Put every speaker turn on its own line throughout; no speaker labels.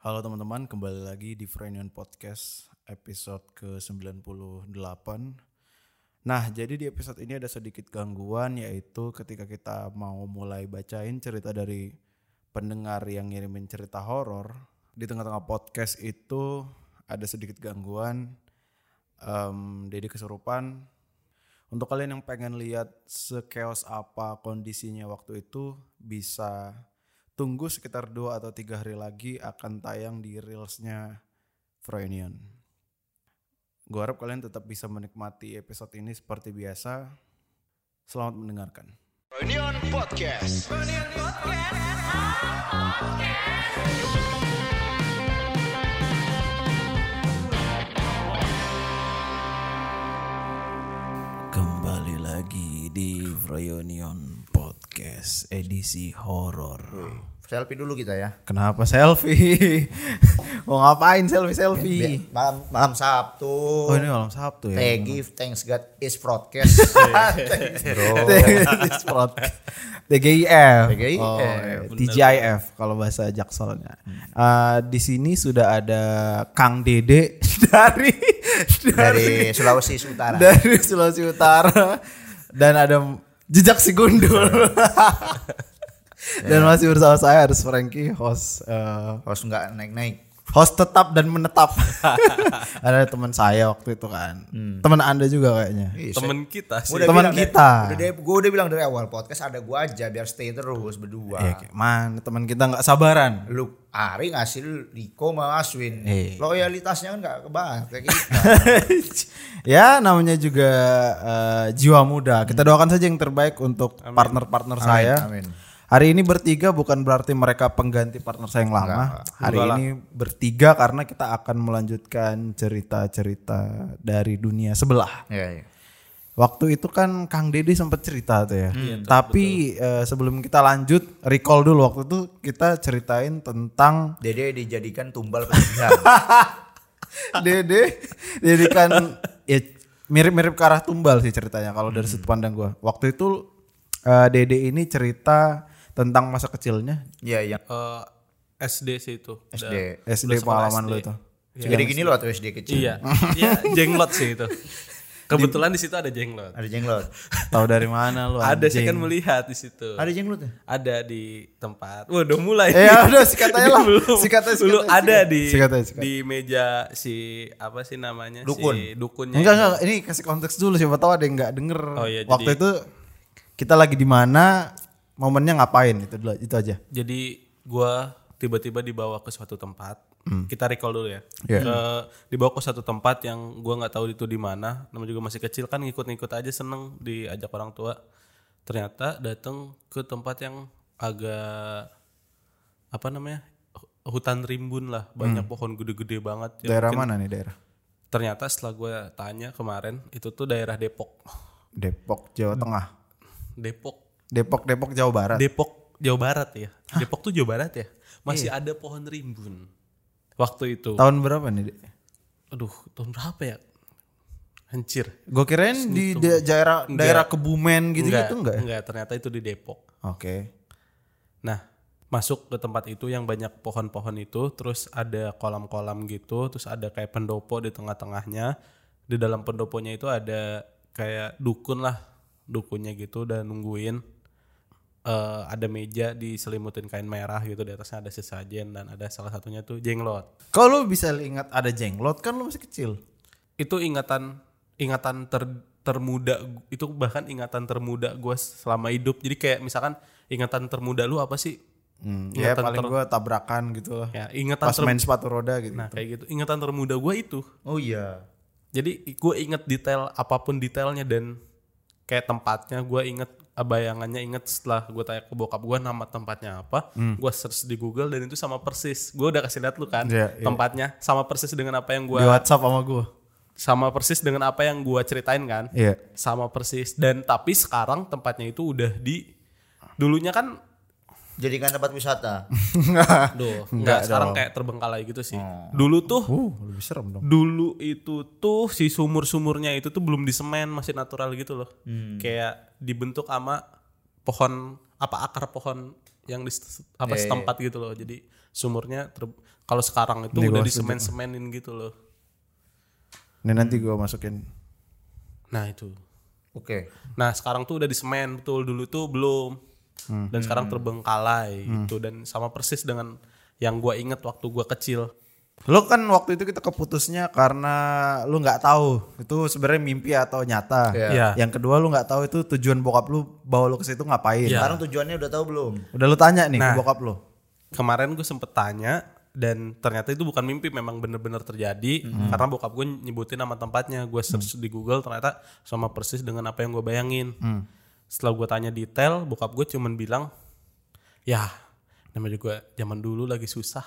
Halo teman-teman, kembali lagi di Frenion Podcast episode ke-98. Nah, jadi di episode ini ada sedikit gangguan yaitu ketika kita mau mulai bacain cerita dari pendengar yang ngirimin cerita horor, di tengah-tengah podcast itu ada sedikit gangguan. Em Dedi kesurupan. Untuk kalian yang pengen lihat sekeos apa kondisinya waktu itu bisa tunggu sekitar dua atau tiga hari lagi akan tayang di reelsnya Froynion. Gue harap kalian tetap bisa menikmati episode ini seperti biasa. Selamat mendengarkan.
Reunion Podcast.
Kembali lagi di Froynion Podcast edisi horor.
Selfie dulu kita ya.
Kenapa selfie? Mau ngapain selfie-selfie?
Malam malam Sabtu.
Oh ini malam Sabtu ya?
Thank you, thanks God is broadcast. Thanks,
Iya.
bro.
This podcast. TGIF.
TGIF.
Oh, TGIF kalau bahasa Jakselnya. Eh, di sini sudah ada Kang Dede dari dari
Dari Sulawesi Utara.
dari Sulawesi Utara dan ada Jejak si Gundul.
Ya.
dan masih bersama saya harus Frankie host eh,
Harus nggak naik-naik.
host tetap dan menetap. ada teman saya waktu itu kan. Teman Anda juga kayaknya.
Hmm. Ih, saya-
temen kita sih.
Gua udah
Teman
bilang dari-
kita.
Udah deh, gue udah bilang dari awal podcast ada gue aja biar stay terus berdua.
Ya, kayak mana teman kita nggak sabaran.
Lu Ari ngasih lu Riko sama Aswin.
Iya.
Loyalitasnya kan nggak kebahas kayak kita.
ya namanya juga eh, jiwa muda. Kita doakan saja yang terbaik untuk partner-partner saya.
Hmm. amin.
Hari ini bertiga bukan berarti mereka pengganti partner saya yang lama. Hari ini bertiga karena kita akan melanjutkan cerita-cerita dari dunia sebelah.
Iya, iya.
Waktu itu kan Kang Deddy sempat cerita tuh ya.
Iya,
Tapi eh, sebelum kita lanjut recall dulu waktu itu kita ceritain tentang
Dede dijadikan tumbal penjahat.
Dede, Dede kan ya, mirip-mirip ke arah tumbal sih ceritanya kalau dari
Hmm.
sudut pandang gua. Waktu itu eh, Dede ini cerita tentang masa kecilnya
Iya, yang
Eh, SD sih itu.
SD.
SD pengalaman lu itu.
Segede gini loh atau SD kecil.
Iya. Iya, jenglot sih itu. Kebetulan di situ ada jenglot.
Ada jenglot.
Tahu dari mana lu?
Ada
anjing?
sih kan melihat di situ.
Ada jenglot ya?
Ada di tempat. Wah, udah mulai.
Eh, ya udah sikat aja lah.
Belum.
Sikat aja, sikat
Dulu
aja,
ada
sikat.
di
Sikat aja, sikat.
di meja si apa sih namanya?
Dukun.
Si dukunnya.
Enggak enggak, ini kasih konteks dulu siapa tahu ada yang nggak denger.
Oh, iya,
Waktu
jadi-
itu kita lagi di mana, momennya ngapain itu dulu, itu aja.
Jadi gua tiba-tiba dibawa ke suatu tempat. Kita recall dulu ya.
Iya.
Ke- dibawa ke suatu tempat yang gua nggak tahu itu di mana. Namanya juga masih kecil kan ngikut-ngikut aja seneng diajak orang tua. Ternyata datang ke tempat yang agak apa namanya? hu- hutan rimbun lah, banyak pohon gede-gede banget. Ya,
Daerah
mungkin-
mana nih daerah?
Ternyata setelah gua tanya kemarin, itu tuh daerah Depok.
Depok, Jawa Tengah.
Depok
Depok, Depok, Jawa Barat.
Depok Jawa Barat ya. Depok tuh Jawa Barat ya. Masih
Iya.
ada pohon rimbun. Waktu itu.
Tahun berapa nih, Dek?
Aduh, tahun berapa ya? Hancur.
Gue kirain di da- daerah daerah Kebumen gitu-gitu enggak? ya?
Enggak, ternyata itu di Depok.
Oke.
Nah, masuk ke tempat itu yang banyak pohon-pohon itu, terus ada kolam-kolam gitu, terus ada kayak pendopo di tengah-tengahnya. Di dalam pendoponya itu ada kayak dukun lah, dukunnya gitu udah nungguin. Eh, ada meja diselimutin kain merah gitu, di atasnya ada sesajen dan ada salah satunya tuh jenglot.
Kalau lu bisa ingat ada jenglot kan lu masih kecil.
itu ingatan ingatan ter termuda itu bahkan ingatan termuda gue selama hidup jadi kayak misalkan ingatan termuda lu apa sih
Hmm, ya paling gua tabrakan gitu lah.
ya ingatan
Pas
ter-
main sepatu roda gitu.
nah kayak gitu ingatan termuda gue itu
Oh iya.
jadi gue inget detail apapun detailnya dan kayak tempatnya gue inget eh, bayangannya inget setelah gue tanya ke bokap gue nama tempatnya apa
Hmm.
gue search di Google dan itu sama persis gue udah kasih lihat lu kan
Iya, iya.
tempatnya sama persis dengan apa yang
Di
gue
WhatsApp sama gua.
sama persis dengan apa yang gue ceritain kan
Iya.
sama persis dan tapi sekarang tempatnya itu udah di dulunya kan
Jadikan tempat wisata.
duh enggak sekarang kayak terbengkalai gitu sih dulu tuh
Uh, lebih serem dong.
dulu itu tuh si sumur-sumurnya itu tuh belum disemen masih natural gitu loh kayak dibentuk sama pohon apa akar pohon yang di se- apa setempat gitu loh. Jadi sumurnya ter- kalau sekarang itu udah disemen-semenin gitu loh.
Ini nanti gua masukin.
Nah, itu.
Oke.
Nah, sekarang tuh udah disemen betul dulu tuh belum. Dan sekarang terbengkalai gitu dan sama persis dengan yang gua inget waktu gua kecil.
Lo kan waktu itu kita keputusnya karena lu nggak tahu itu sebenarnya mimpi atau nyata.
Iya.
Iya.
Yang kedua lu nggak tahu itu tujuan bokap lu bawa lu ke situ ngapain.
Iya.
Sekarang tujuannya udah tahu belum?
Udah lu tanya nih
Nah.
ke bokap lu.
kemarin gue sempet tanya dan ternyata itu bukan mimpi memang bener-bener terjadi karena bokap gue nyebutin nama tempatnya gue search di Google ternyata sama persis dengan apa yang gue bayangin setelah gue tanya detail bokap gue cuman bilang ya namanya juga zaman dulu lagi susah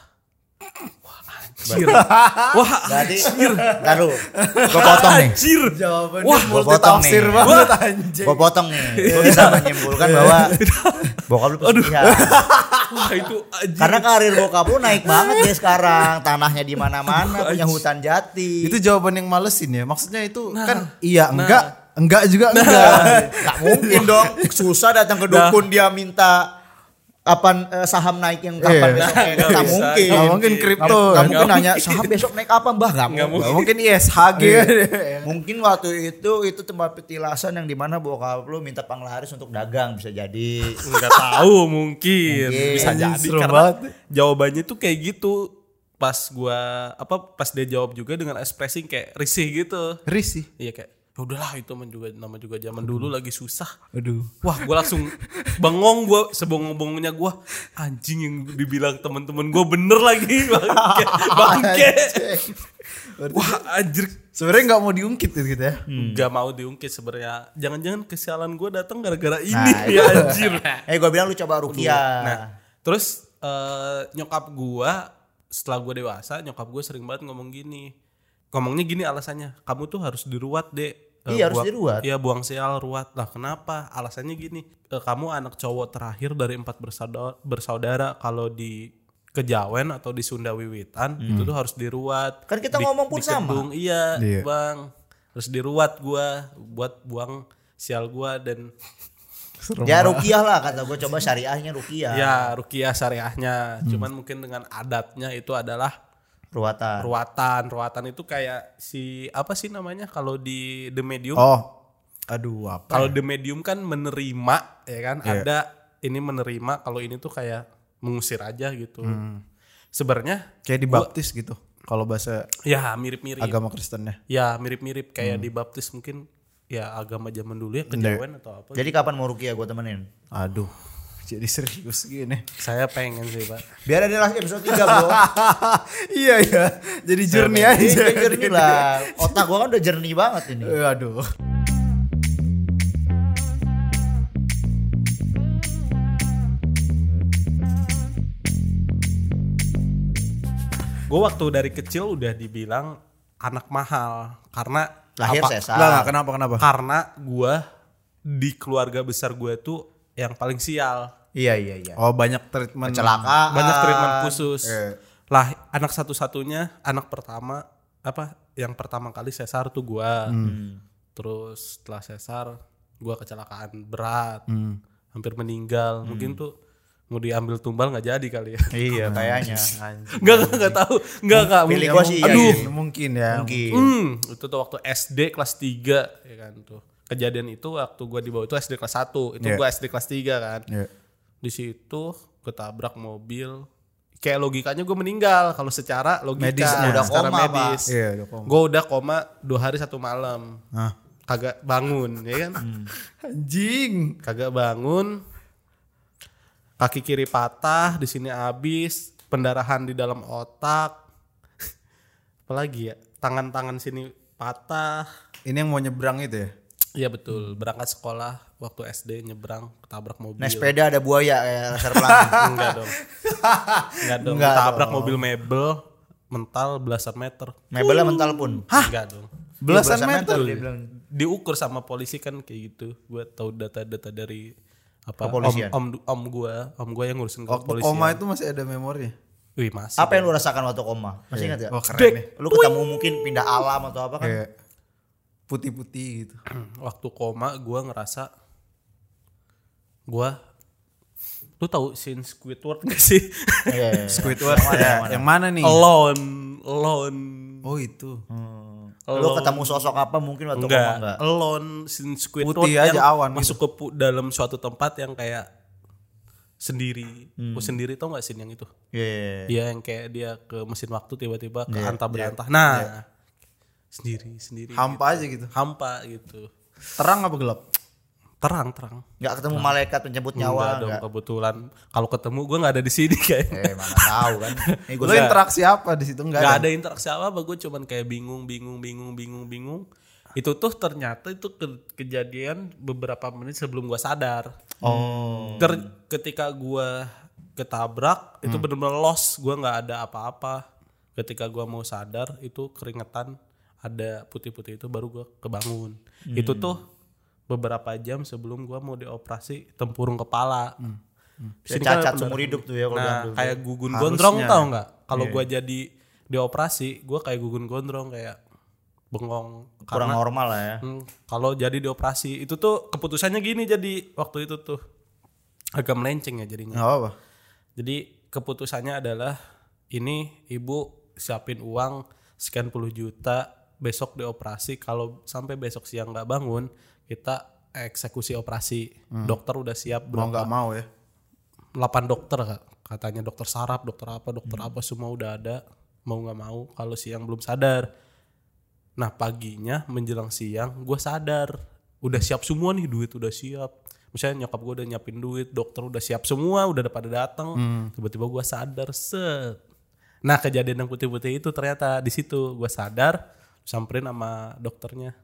wah anjir wah
Ah,
Jadi, ntar dulu. Gue potong nih.
anjir
Jawabannya
Wah,
gua potong nih.
multitafsir banget anjing. Iya.
Gue potong nih. Gue bisa menyimpulkan bahwa bokap lu pesugihan.
wah itu anjir
Karena karir bokap lu naik banget ya sekarang. Tanahnya di mana-mana, punya hutan jati.
Itu jawaban yang malesin ya. Maksudnya itu kan iya enggak enggak juga enggak.
Gak mungkin dong. Susah datang ke
Nah.
dukun dia minta kapan eh, saham naik yang
Iya.
kapan besok naik.
Nggak
Gak
bisa.
mungkin.
Nggak mungkin kripto.
Nggak- nggak
Nggak
mungkin nanya saham besok naik apa mbah. Gak
Nggak
mungkin.
mungkin. mungkin ISHG.
Iya. Mungkin waktu itu itu tempat petilasan yang dimana bokap lu minta panglaris untuk dagang bisa jadi.
nggak tahu mungkin
Mungkin.
bisa jadi
Serem
karena
banget.
jawabannya tuh kayak gitu pas gua apa pas dia jawab juga dengan ekspresi kayak risih gitu
Risih.
iya kayak "Ya udahlah itu mah juga nama juga zaman dulu lagi susah
Aduh.
wah gua langsung bengong gua sebongong-bongongnya gua anjing yang dibilang temen-temen gua bener lagi bangke bangke wah anjir
Sebenarnya nggak mau diungkit gitu ya.
nggak mau diungkit sebenarnya jangan-jangan kesialan gua datang gara-gara ini
Nah,
ya anjir
Eh gue bilang lu coba
Nah,
rukiah.
terus eh, nyokap gua setelah gua dewasa, nyokap gua sering banget ngomong gini. Ngomongnya gini alasannya, kamu tuh harus diruat, Dek. Eh,
Iya, harus
buang-
diruat.
Iya, buang sial ruat. Lah, kenapa? Alasannya gini, eh, kamu anak cowok terakhir dari empat bersaudara, bersaudara kalau di Kejawen atau di Sunda Wiwitan itu tuh harus diruat.
Hmm. Kan kita
Di-
ngomong pun
di Kedung, Iya,
Iya.
Bang. Harus diruat gua buat buang sial gua dan
Serem.
Ya rukiah lah kata gue coba syariahnya rukiah.
Ya, rukiah syariahnya. Cuman mungkin dengan adatnya itu adalah
Ruatan.
ruatan. Ruatan itu kayak si apa sih namanya kalau di The Medium?
Oh. Aduh apa?
Kalau The Medium kan menerima ya kan ada ini menerima, kalau ini tuh kayak mengusir aja gitu. Sebenarnya
Kayak dibaptis gitu. Kalau bahasa
ya mirip-mirip.
agama Kristennya.
Ya, mirip-mirip kayak di baptis mungkin ya agama zaman dulu ya kejawen atau apa.
Jadi kapan mau rukiah gue temenin?
Aduh. Jadi serius gini.
Saya pengen sih, Pak.
Biar ada last episode 3 bro.
iya ya. Jadi jernih
Ini
aja.
kayak jernih lah. Otak gue kan udah jernih banget ini.
Eh, Aduh.
Gue waktu dari kecil udah dibilang anak mahal karena
Lahir
apa-
sesar.
Lah lah, kenapa kenapa?
karena gua di keluarga besar gua tuh yang paling sial
Iya iya iya.
Oh banyak treatment.
Celakaan.
banyak treatment khusus
eh.
lah anak satu-satunya anak pertama apa yang pertama kali sesar tuh gua
Hmm.
terus setelah sesar gua kecelakaan berat hampir meninggal mungkin tuh mau diambil tumbal nggak jadi kali ya
Iya kayaknya.
nggak nggak nggak tahu nggak nggak
Pilih
mungkin.
gua sih, iya,
aduh
Mungkin, mungkin ya.
Mungkin.
Hmm, itu tuh waktu SD kelas 3 ya kan tuh. Kejadian itu waktu gua di bawah itu SD kelas 1, itu
Iya.
gua SD kelas 3 kan.
Iya.
Di situ ketabrak mobil. Kayak logikanya gue meninggal kalau secara logika
Medisnya.
udah
Secara
secara
medis.
medis.
Iya, udah koma.
Gue udah koma dua hari satu malam.
Hah.
Kagak bangun ya kan.
Hmm. Anjing.
Kagak bangun. Kaki kiri patah, di sini habis, pendarahan di dalam otak. Apalagi ya, tangan-tangan sini patah.
Ini yang mau nyebrang itu ya?
Iya betul, berangkat sekolah waktu SD nyebrang ketabrak mobil.
Naik sepeda ada buaya kayak laser pelangi.
Enggak dong. Enggak dong,
Enggak
ketabrak mobil mebel mental belasan meter.
Mebelnya mental pun. Iya,
Hah? Enggak dong.
Belasan,
Belasan
meter.
meter dia bilang.
Diukur sama polisi kan kayak gitu. Gue tahu data-data dari apa om
Kepolisian.
om om gue, om gue yang ngurusin ke
Waktu
polisi.
koma itu masih ada memori.
Wih, masih.
Apa yang lu rasakan waktu koma? Masih ingat gak?
Wah keren
Dek.
nih.
Lu ketemu mungkin pindah alam atau apa kan?
Kayak Iya. putih-putih gitu.
waktu koma gue ngerasa gue Lu tahu scene Squidward gak sih?
Iya, iya, iya.
Squidward ya. Yang mana nih?
Oh. alone, alone.
Oh itu.
Hmm. Lu ketemu sosok apa mungkin waktu
Enggak,
ngomong enggak?
alone scene Squidward
Putih aja
yang
awan
masuk ke pu- dalam suatu tempat yang kayak sendiri. Lu sendiri tau gak scene yang itu?
Iya, iya, iya.
Dia yang kayak dia ke mesin waktu tiba-tiba ke antah berantah. Nah, sendiri, sendiri.
Hampa aja gitu.
Hampa gitu.
Terang apa gelap?
Terang, terang.
Enggak ketemu malaikat penyebut nyawa
Nah. Enggak dong
enggak.
kebetulan kalau ketemu gue nggak ada di sini kayaknya
Eh, mana tahu kan. Ini
Lu
gua
interaksi apa di situ enggak
nggak
ada?
ada interaksi apa apa gue cuman kayak bingung bingung bingung bingung bingung itu tuh ternyata itu ke- kejadian beberapa menit sebelum gue sadar
Oh.
Ter- Hmm. ketika gue ketabrak itu benar-benar lost gue nggak ada apa-apa ketika gue mau sadar itu keringetan ada putih-putih itu baru gue kebangun itu tuh beberapa jam sebelum gue mau dioperasi tempurung kepala
bisa
Sini
cacat
kan ada pendarahan.
seumur hidup tuh ya kalau
Nah,
diambil.
kayak gugun gondrong tau nggak? Kalau gua jadi dioperasi, gua kayak gugun gondrong kayak bengong.
kurang normal lah ya.
Hmm, Kalau jadi dioperasi, itu tuh keputusannya gini jadi waktu itu tuh agak melenceng ya jadinya.
Enggak apa-apa.
Jadi keputusannya adalah ini ibu siapin uang sekian puluh juta besok dioperasi kalau sampai besok siang nggak bangun kita eksekusi operasi dokter udah siap
Mau
berapa
enggak mau ya.
8 dokter Kak. katanya dokter saraf dokter apa dokter apa semua udah ada mau nggak mau kalau siang belum sadar nah paginya menjelang siang gue sadar udah siap semua nih duit udah siap misalnya nyokap gue udah nyiapin duit dokter udah siap semua udah ada pada datang tiba-tiba gue sadar set nah kejadian yang putih-putih itu ternyata di situ gue sadar samperin sama dokternya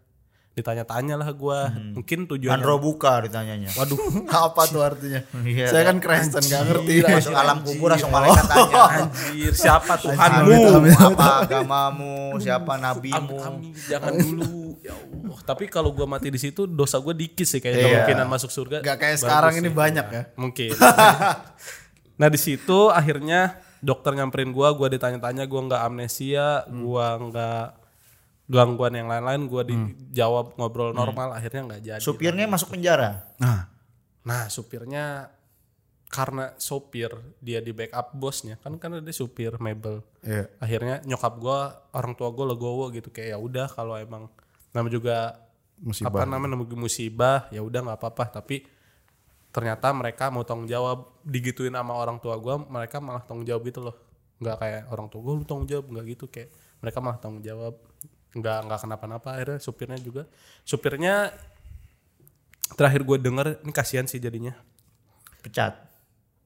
ditanya-tanya lah gue mungkin tujuannya
Andro buka ditanyanya.
waduh
apa tuh artinya?
Iya.
Saya kan Kristen enggak ngerti.
Tidak masuk alam kubur langsung malaikat tanya.
anjir siapa
Amit,
Tuhanmu
amit, amit.
Apa agamamu, siapa
Amin,
nabimu.
amin. jangan dulu. ya Allah. Tapi kalau gua mati di situ dosa gua dikit sih kayaknya
Iya.
kemungkinan masuk surga.
Enggak kayak
bagus
sekarang
sih.
ini banyak ya.
Mungkin. nah di situ akhirnya dokter nyamperin gua, gua ditanya-tanya, gua nggak amnesia, gua nggak gangguan yang lain-lain, gua dijawab ngobrol normal, akhirnya nggak jadi.
Supirnya masuk penjara.
Nah,
Nah supirnya karena sopir dia di backup bosnya kan karena dia supir mebel
iya.
akhirnya nyokap gua orang tua gua legowo gitu kayak ya udah kalau emang nama juga apa
Musibah.
namanya namanya musibah ya udah nggak apa-apa tapi ternyata mereka mau tanggung jawab digituin sama orang tua gua mereka malah tanggung jawab gitu loh nggak kayak orang tua gua lu tanggung jawab nggak gitu kayak mereka malah tanggung jawab nggak nggak kenapa-napa akhirnya supirnya juga supirnya terakhir gua denger ini kasihan sih jadinya
Pecat.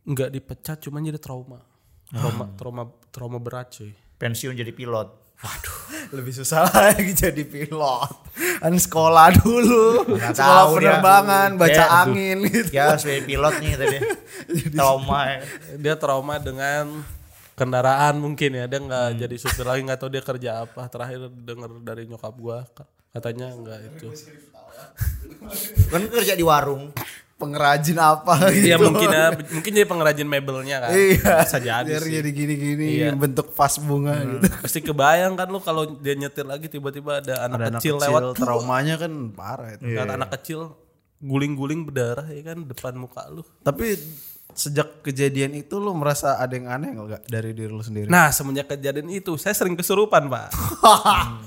nggak dipecat cuman jadi trauma trauma trauma trauma berat cuy
Pensiun jadi pilot.
Lebih susah lagi jadi pilot. Kan sekolah dulu.
Nggak
sekolah
tahu dia.
penerbangan, baca
Kayak-
angin gitu.
Ya sebagai pilot nih tadi. Trauma. ya.
dia trauma dengan kendaraan mungkin ya dia nggak jadi supir lagi nggak tahu dia kerja apa terakhir dengar dari nyokap gua ka- katanya nggak itu
Kan kerja di warung.
Pengrajin apa gitu.
ya mungkin ya mungkin jadi pengrajin mebelnya kan
Iya.
bisa jadi
Biar
sih
jadi gini-gini
Iya. Hmm.
bentuk vas bunga gitu.
pasti kebayang kan lu kalau dia nyetir lagi tiba-tiba ada anak, kecil, Iya. lewat
traumanya kan parah itu.
Lihat anak kecil guling-guling berdarah ya kan depan muka lu
Tapi sejak kejadian itu lu merasa ada yang aneh nggak dari diri lu sendiri?
Nah, semenjak kejadian itu saya sering kesurupan, Pak.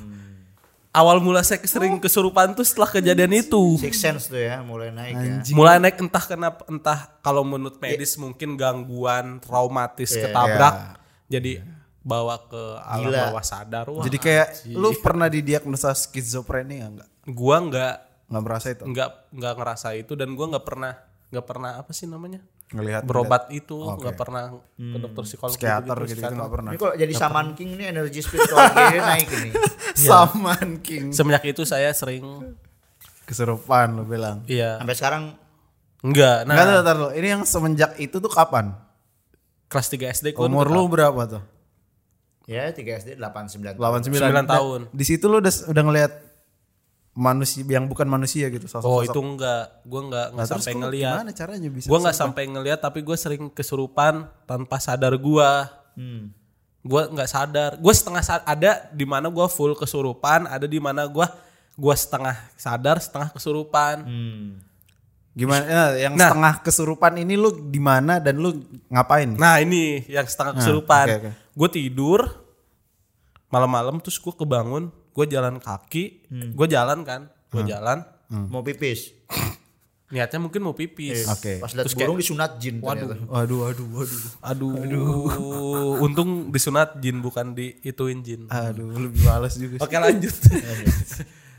Awal mula saya sering kesurupan tuh setelah kejadian itu.
Six sense tuh ya mulai naik ya.
Mulai naik entah kenapa entah kalau menurut
Iya.
medis mungkin gangguan traumatis ketabrak. Jadi
Iya.
bawa ke alam
Gila.
bawah sadar. Wah,
Jadi kayak lu pernah didiagnosa skizofrenia nggak?
gua nggak
Nggak merasa itu?
nggak nggak ngerasa itu dan gua nggak pernah nggak pernah apa sih namanya?
Ngelihat
berobat
Iya.
itu nggak pernah
Hmm,
ke dokter psikolog
psikiater
gitu-gitu,
gitu gitu nggak pernah.
Iya.
Ini kalau jadi Saman King nih energi spiritual dia naik ini.
Saman King
Semenjak itu saya sering
keserupan lu bilang.
iya
Sampai sekarang
enggak. Nah,
Nggak tahu tahu, tahu. Ini yang semenjak itu tuh kapan?
kelas 3 SD gua
Umur lu berapa tuh?
ya 3 SD 8 9
89 Nah,
9 tahun.
Di situ lu udah udah ngelihat manusia yang bukan manusia gitu sosok.
Oh itu enggak, gue enggak enggak sampai
lu
ngeliat.
Nah, Gimana caranya bisa?
Gue enggak sampai ngeliat, tapi gue sering kesurupan tanpa sadar gue.
Hmm.
Gue enggak sadar. Gue setengah sadar. Ada di mana gue full kesurupan, ada di mana gue gue setengah sadar, setengah kesurupan.
Hmm.
Gimana ya, yang
Nah.
setengah kesurupan ini lu di mana dan lu ngapain?
Nah ini yang setengah kesurupan.
oke, oke.
Gue tidur malam-malam terus gue kebangun, gue jalan kaki,
Hmm.
gue jalan kan, gue
Nah.
jalan.
Mau pipis.
Niatnya mungkin mau pipis.
Oke.
Pas lihat burung disunat jin ternyata.
Waduh, waduh, waduh.
Aduh, untung disunat jin bukan diituin jin.
Aduh, lebih males juga. sih.
Oke lanjut.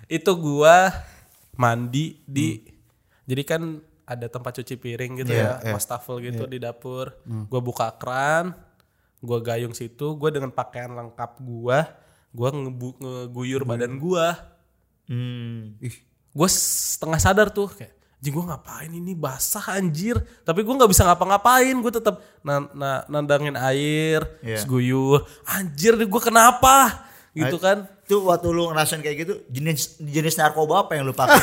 itu gua mandi di jadi kan ada tempat cuci piring gitu ya, wastafel gitu di dapur. Gua buka kran, gua gayung situ, gua dengan pakaian lengkap gua, gua ngebu- ngeguyur badan gua.
Hmm.
Gua setengah sadar tuh kayak Anjing gue ngapain ini basah anjir Tapi gua nggak bisa ngapa-ngapain Gue tetap na- na- nandangin air
Iya.
Terus guyur Anjir nih gue kenapa Gitu kan
Itu waktu lu ngerasain kayak gitu jenis jenis narkoba apa yang lu pakai?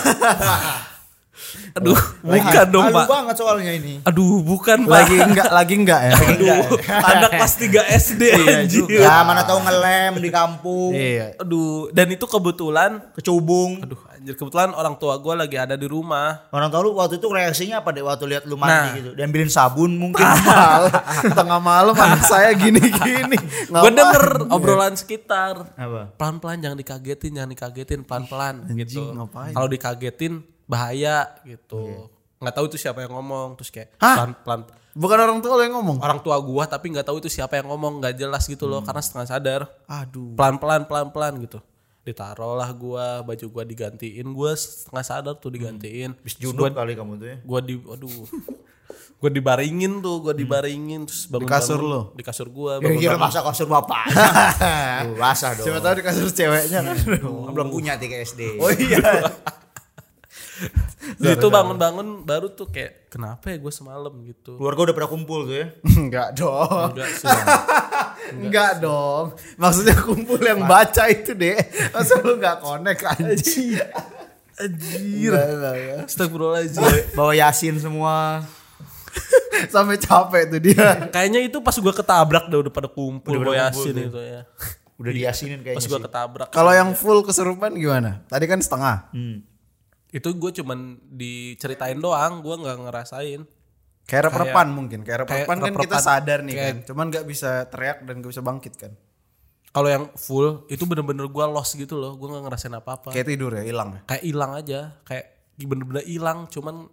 Aduh bukan
Halu
dong pak
banget soalnya ini.
Aduh, bukan Pak.
lagi enggak, lagi enggak ya?
Aduh, anak kelas 3 SD anjir.
Ya mana tahu ngelem di kampung,
Iya.
Aduh, dan itu kebetulan
kecubung.
aduh anjir kebetulan orang tua gue lagi ada di rumah.
Orang tahu lu waktu itu reaksinya apa deh waktu lihat lu mandi
Nah.
gitu. Diambilin sabun mungkin.
Malah, tengah malam anak saya gini-gini.
Gue
Ngapain?
denger obrolan sekitar.
apa?
Pelan-pelan jangan dikagetin, jangan dikagetin, pelan-pelan gitu.
ngapain?
Kalau dikagetin bahaya gitu. nggak tahu itu siapa yang ngomong terus kayak pelan-pelan
Bukan orang tua lo yang ngomong.
orang tua gua tapi nggak tahu itu siapa yang ngomong nggak jelas gitu loh karena setengah sadar
Aduh.
pelan-pelan pelan-pelan gitu. Ditaruhlah gua, baju gua digantiin, gua setengah sadar tuh digantiin.
Bis junub kali kamu tuh ya.
Gua di aduh. gua dibaringin tuh, gua dibaringin terus bangun
Di kasur
bangun-
lo?
Di kasur gua bangun.
Kira-kira masa kasur bapak. Tuh, basah dong.
gitu. Siapa tahu di kasur ceweknya kan.
belum punya tiga SD.
Oh iya.
Di situ bangun-bangun baru tuh kayak kenapa ya gua semalam gitu.
Keluarga udah pada kumpul tuh ya.
Enggak dong.
Enggak sih.
Enggak dong. Maksudnya kumpul yang baca itu deh. Masa lu enggak connect anjing.
Anjir.
Enggak, enggak, enggak.
Astagfirullahaladzim.
Bawa Yasin semua.
Sampai capek tuh dia.
Kayaknya itu pas gua ketabrak dah udah pada kumpul
Udah pada
gua
kumpul
yasin
tuh.
itu ya.
Udah
Iya.
diyasinin kayaknya.
Pas
sih.
gua ketabrak.
Kalau yang full kesurupan gimana? Tadi kan setengah.
Hmm.
itu gue cuman diceritain doang, gua nggak ngerasain.
Kayak rep-repan mungkin. Kayak
kayak
rep-repan kan kita
rep-repan.
sadar nih
Kayak-
kan. Cuman nggak bisa teriak dan nggak bisa bangkit kan.
Kalau yang full itu bener-bener gua lost gitu loh, gua nggak ngerasain apa-apa.
Kayak tidur ya, hilang. ya.
Kayak hilang aja, kayak bener-bener hilang. Cuman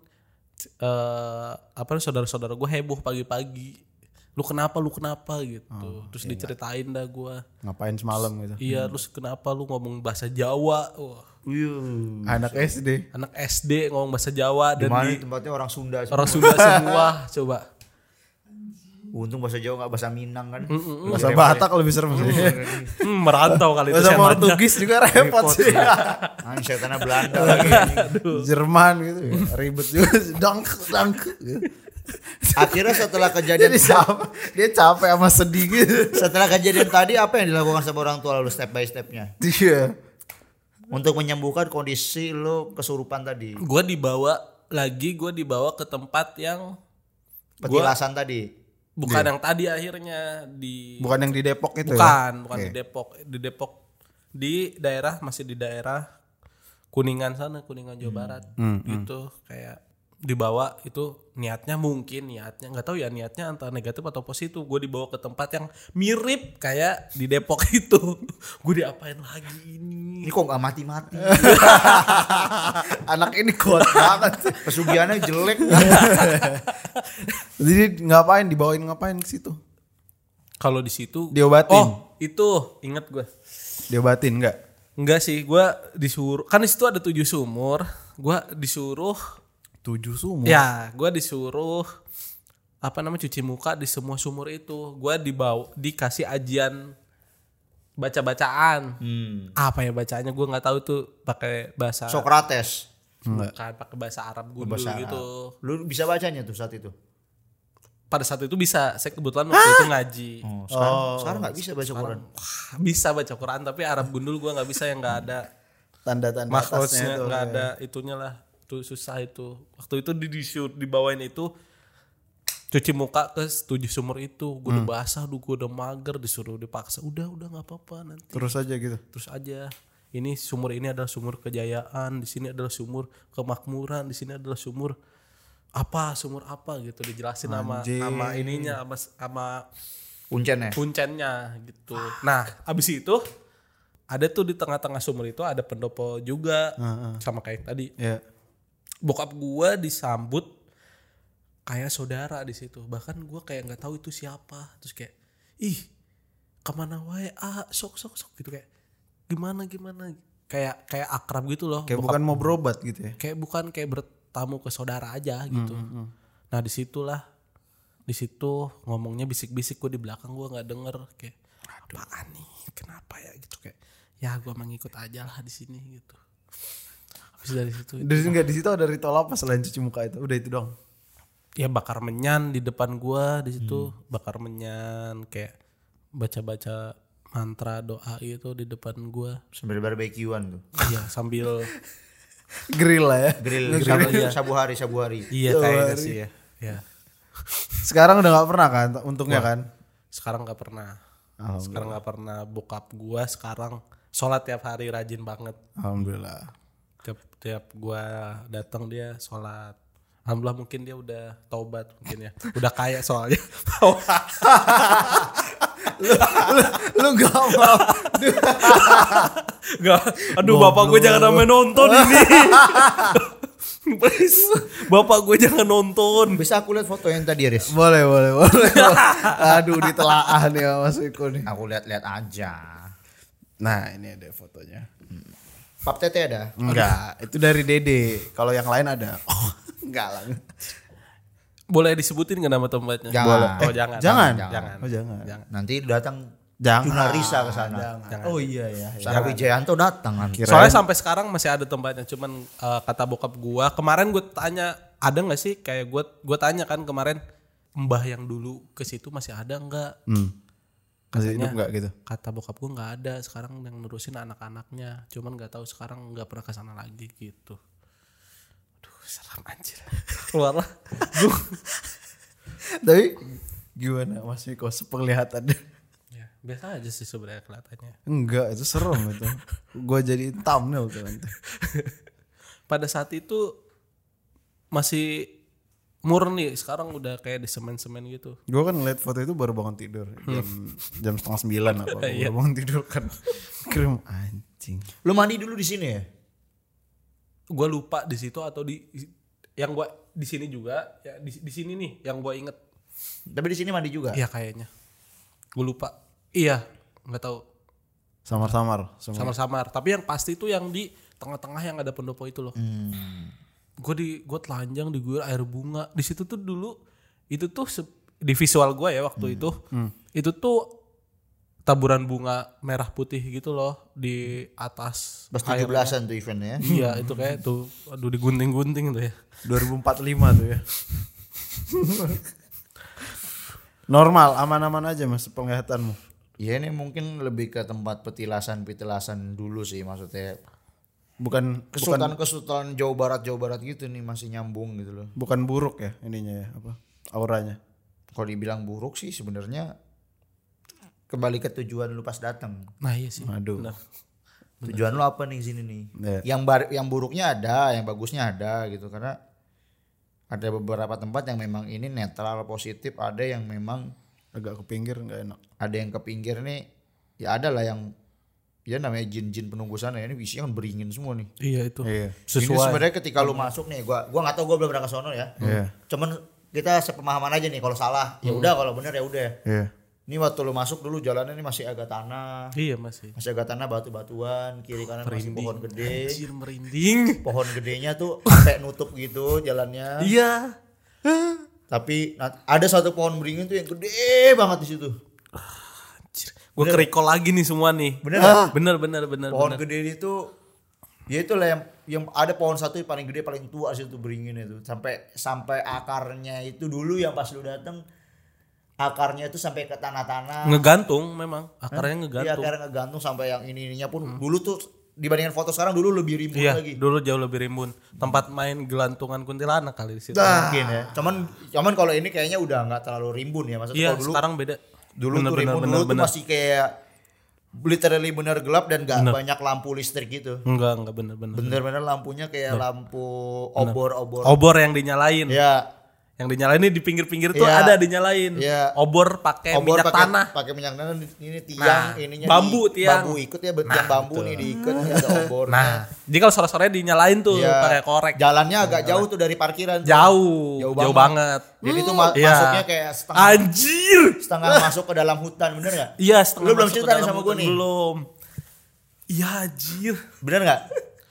eh apa nih saudara-saudara gua heboh pagi-pagi. Lu kenapa? Lu kenapa gitu?
Oh,
terus
iya.
diceritain dah gua.
Ngapain semalam gitu.
Iya, terus kenapa lu ngomong bahasa Jawa? Wah,
Iya.
Wih.
Anak SD.
anak SD ngomong bahasa Jawa dan
Mana
di
tempatnya orang Sunda. semua.
orang Sunda semua coba.
Untung bahasa Jawa gak bahasa Minang kan.
Bahasa Batak lebih serem sih.
Hmm, merantau kali itu
Bahasa
saya tanya.
Portugis juga iya. repot sih.
Anjir tanah Ah, Belanda lagi.
Jerman gitu ya. Ribet juga sih. Dangk, dangk. gitu.
Akhirnya setelah kejadian
Jadi sama, dia capek sama sedih gitu.
setelah kejadian tadi apa yang dilakukan sama orang tua lu step by stepnya
Iya.
untuk menyembuhkan kondisi lu kesurupan tadi
Gua dibawa lagi, gua dibawa ke tempat yang
petilasan tadi
bukan yang tadi akhirnya di
Iya. Bukan yang di Depok itu ya.
Bukan, bukan di Depok, di Depok di daerah masih di daerah Kuningan sana, Kuningan Jawa
Hmm.
Barat. gitu kayak dibawa itu niatnya mungkin niatnya nggak tahu ya niatnya antara negatif atau positif gue dibawa ke tempat yang mirip kayak di Depok itu gue diapain lagi ini
ini kok gak mati-mati
Anak ini kuat banget. sih.
pesugihannya jelek
Jadi ngapain dibawain ngapain ke situ?
kalau di situ
Diobatin.
oh itu inget gue
Diobatin enggak?
enggak sih gue disuruh kan di situ ada tujuh sumur gue disuruh
Tujuh sumur.
Ya, gua disuruh apa namanya cuci muka di semua sumur itu. Gua dibawa dikasih ajian baca-bacaan.
Hmm.
Apa ya bacaannya gua nggak tahu tuh pakai bahasa
Sokrates
bukan pakai bahasa Arab gundul
Bahasa Arab.
gitu.
lu bisa bacanya tuh saat itu
Pada saat itu bisa. Saya kebetulan waktu itu ngaji.
Ah! oh, sekarang sekarang nggak bisa baca Quran
Wah, Bisa baca Quran tapi Arab gundul gua nggak bisa yang nggak ada
Tanda-tanda atasnya
makrosnya,
itu.
nggak ada itunya lah. Itu susah itu. Waktu itu di disuruh dibawain itu cuci muka ke tujuh sumur itu gue
Hmm.
udah basah duh gue udah mager disuruh dipaksa udah udah nggak apa-apa nanti
Terus aja gitu.
terus aja ini sumur ini adalah sumur kejayaan di sini adalah sumur kemakmuran di sini adalah sumur apa sumur apa gitu dijelasin sama
Anjing.
sama ininya sama sama
Kuncen ya.
puncennya gitu. Nah, abis itu ada tuh di tengah-tengah sumur itu ada pendopo juga
Hmm.
sama kayak tadi.
Ah, Ya.
Bokap gua disambut kayak saudara di situ. Bahkan gua kayak nggak tahu itu siapa. Terus kayak ih kemana wae ah sok sok sok gitu kayak gimana gimana kayak kayak akrab gitu loh.
Kayak
Bokap
bukan mau berobat gitu ya.
kayak bukan kayak bertamu ke saudara aja gitu. Nah disitulah di situ ngomongnya bisik-bisik gue di belakang gue nggak denger kayak apaan nih kenapa ya gitu kayak ya gue mengikut aja lah di sini gitu. Habis dari situ
Dari enggak di situ ada ritual apa selain cuci muka itu? Udah itu dong.
ya bakar menyan di depan gue di situ bakar menyan kayak baca-baca mantra doa gitu di depan gue
Sambil barbekyuan tuh.
ya sambil
Grill lah ya.
Grill,
Nge-
sabu, sabu hari, sabu hari.
iya kayaknya sih ya. ya
Sekarang udah nggak pernah kan? Untungnya kan.
sekarang nggak pernah sekarang nggak pernah bokap gua sekarang sholat tiap hari rajin banget
Alhamdulillah.
tiap tiap gua datang dia sholat alhamdulillah mungkin dia udah taubat mungkin ya udah kaya soalnya
Lu nggak mau.
Nggak, aduh bapak gue jangan sampai nonton ini please bapak gue jangan nonton
Bisa aku lihat foto yang tadi, Riz?
boleh, boleh, boleh. Aduh, ditelaah nih sama Mas Wiko nih.
Aku lihat-lihat aja.
Nah, ini ada fotonya.
Pap tete ada?
Enggak, itu dari Dede. Kalau yang lain ada. Oh, enggak lah.
boleh disebutin nggak nama tempatnya
Jangan.
oh jangan
Eh, Jangan.
jangan
Oh, jangan.
Jangan.
Nanti datang
Jangan.
Junarisa ke sana.
Jangan.
Oh iya ya. ya.
Sarah Wijayanto datang nanti.
Kirain-
Soalnya sampai sekarang masih ada tempatnya, cuman eh, kata bokap gua kemarin gue tanya ada nggak sih kayak gue gue tanya kan kemarin mbah yang dulu ke situ masih ada nggak?
Hmm. Masih
Katanya-
hidup enggak gitu?
Kata bokap gua nggak ada. Sekarang yang nerusin anak-anaknya, cuman nggak tahu sekarang nggak pernah ke sana lagi gitu. Aduh, salam anjir. Keluarlah.
Tapi gimana Mas Wiko sepenglihatan?
ya, biasa aja sih sebenarnya kelihatannya.
enggak, itu serem itu. Gua jadi thumbnail tuh nanti.
Pada saat itu masih murni, sekarang udah kayak disemen-semen gitu.
Gue kan ngeliat foto itu baru bangun tidur jam jam setengah sembilan apa gua baru bangun tidur kan krim anjing
Lu mandi dulu di sini ya?
gue lupa di situ atau di yang gue di sini juga ya di, di sini nih yang gue inget
Tapi di sini mandi juga.
Iya kayaknya gue lupa iya nggak tahu
samar-samar semua
Hmm. samar-samar tapi yang pasti itu yang di tengah-tengah yang ada pendopo itu loh gue di gue telanjang diguyur air bunga di situ tuh dulu itu tuh se- di visual gue ya waktu itu itu tuh taburan bunga merah putih gitu loh di atas
Pas 17-an tuh eventnya ya.
iya itu kayak tuh aduh digunting-gunting tuh ya
2045 tuh ya normal aman-aman aja mas penglihatanmu
Ya ini mungkin lebih ke tempat petilasan-petilasan dulu sih maksudnya.
bukan
Kesultanan-kesultanan Jawa Barat-Jawa Barat gitu nih masih nyambung gitu loh.
bukan buruk ya ininya ya apa auranya
Kalau dibilang buruk sih sebenarnya kembali ke tujuan lu pas datang.
nah iya sih
aduh
Benar.
Tujuan lu apa nih di sini nih?
Iya.
Yang bar yang buruknya ada, yang bagusnya ada gitu karena ada beberapa tempat yang memang ini netral positif, ada yang memang
agak ke pinggir nggak enak
ada yang ke pinggir nih ya ada lah yang ya namanya jin-jin penunggu sana ya. ini isinya kan beringin semua nih.
iya itu
iya
Ini sebenarnya ketika lu masuk nih gua gua nggak tahu gua belum pernah ke sono ya.
Iya.
Cuman kita sepemahaman aja nih kalau salah ya udah kalau bener ya udah.
iya
Ini waktu lu masuk dulu jalannya ini masih agak tanah.
Iya masih.
Masih agak tanah batu-batuan, kiri kanan masih pohon gede.
Anjir merinding.
Pohon gedenya tuh sampai nutup gitu jalannya.
Iya.
Tapi na- ada satu pohon beringin tuh yang gede banget di situ.
Gue kerikol lagi nih semua nih.
Bener
Ah. Bener bener bener.
Pohon
bener.
gede itu ya itulah yang yang ada pohon satu yang paling gede paling tua situ beringin itu sampai sampai akarnya itu dulu yang pas lu dateng akarnya itu sampai ke tanah-tanah
Ngegantung memang. Akarnya
dia
ngegantung.
akarnya ngegantung sampai yang ini ininya pun dulu tuh dibandingkan foto sekarang dulu lebih rimbun
Hmm. Iya.
lagi
Dulu jauh lebih rimbun. Tempat main gelantungan kuntilanak kali di situ.
mungkin ya cuman cuman kalau ini kayaknya udah nggak terlalu rimbun ya maksudnya
Iya.
kalau dulu
Sekarang beda.
dulu
bener,
tuh
bener,
rimbun
bener,
dulu tuh
bener.
masih kayak literally bener gelap dan gak banyak lampu listrik gitu.
Enggak, enggak bener-bener.
Bener-bener lampunya kayak lampu obor-obor.
Obor yang dinyalain.
Ya,
Yang dinyalain ini di pinggir-pinggir tuh
Iya.
ada dinyalain.
Iya.
Obor pakai
obor
minyak
pakai-
tanah. Nah,
Pakai minyak tanah ini tiang ininya
bambu
di-
tiang.
Bambu ikut ya, tiang bambu nih diikat ya ada obor.
Nah, jadi kalau sore-sore dinyalain tuh
Iya.
pakai korek.
Jalannya agak jauh tuh dari parkiran. tuh.
Jauh,
Jauh
jauh,
banget.
banget.
Jadi tuh ma-
Iya.
masuknya kayak setengah
Anjir.
setengah masuk ke dalam hutan, bener gak?
Iya, setengah
Lu belum
masuk ke
cerita nih
dalam
sama
hutan.
gua nih.
Belum. Iya, anjir.
Bener gak?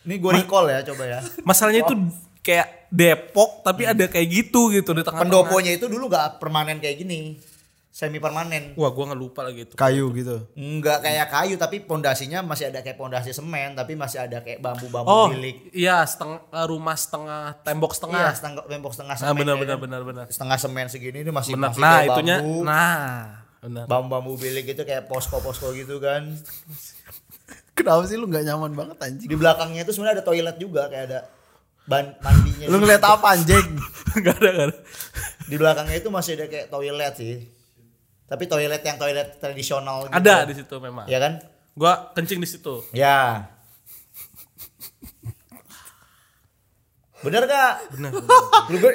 Ini gue recall ya coba ya.
Masalahnya itu kayak Depok tapi ada kayak gitu gitu di tengah
Pendoponya itu dulu gak permanen kayak gini. Semi permanen.
Wah, gua nggak lupa lagi itu.
kayu gitu
Enggak kayak kayu tapi pondasinya masih ada kayak pondasi semen tapi masih ada kayak bambu-bambu
Oh,
milik.
iya setengah rumah setengah tembok
Iya,
setengah.
setengah tembok setengah
nah,
semen.
benar
ya
benar
kan?
benar benar.
Setengah semen segini ini masih
Benar.
masih
Nah,
kayak
itunya
bambu,
nah, benar.
bambu-bambu bilik itu kayak posko-posko gitu kan.
kenapa sih lu nggak nyaman banget anjing
Di belakangnya itu sebenarnya ada toilet juga kayak ada ban mandinya.
lu
gitu.
ngeliat apa anjing
Enggak ada enggak ada.
Di belakangnya itu masih ada kayak toilet sih. Tapi toilet yang toilet tradisional gitu.
Ada di situ memang.
Ya kan?
Gua kencing di situ.
Ya. Bener gak? Bener.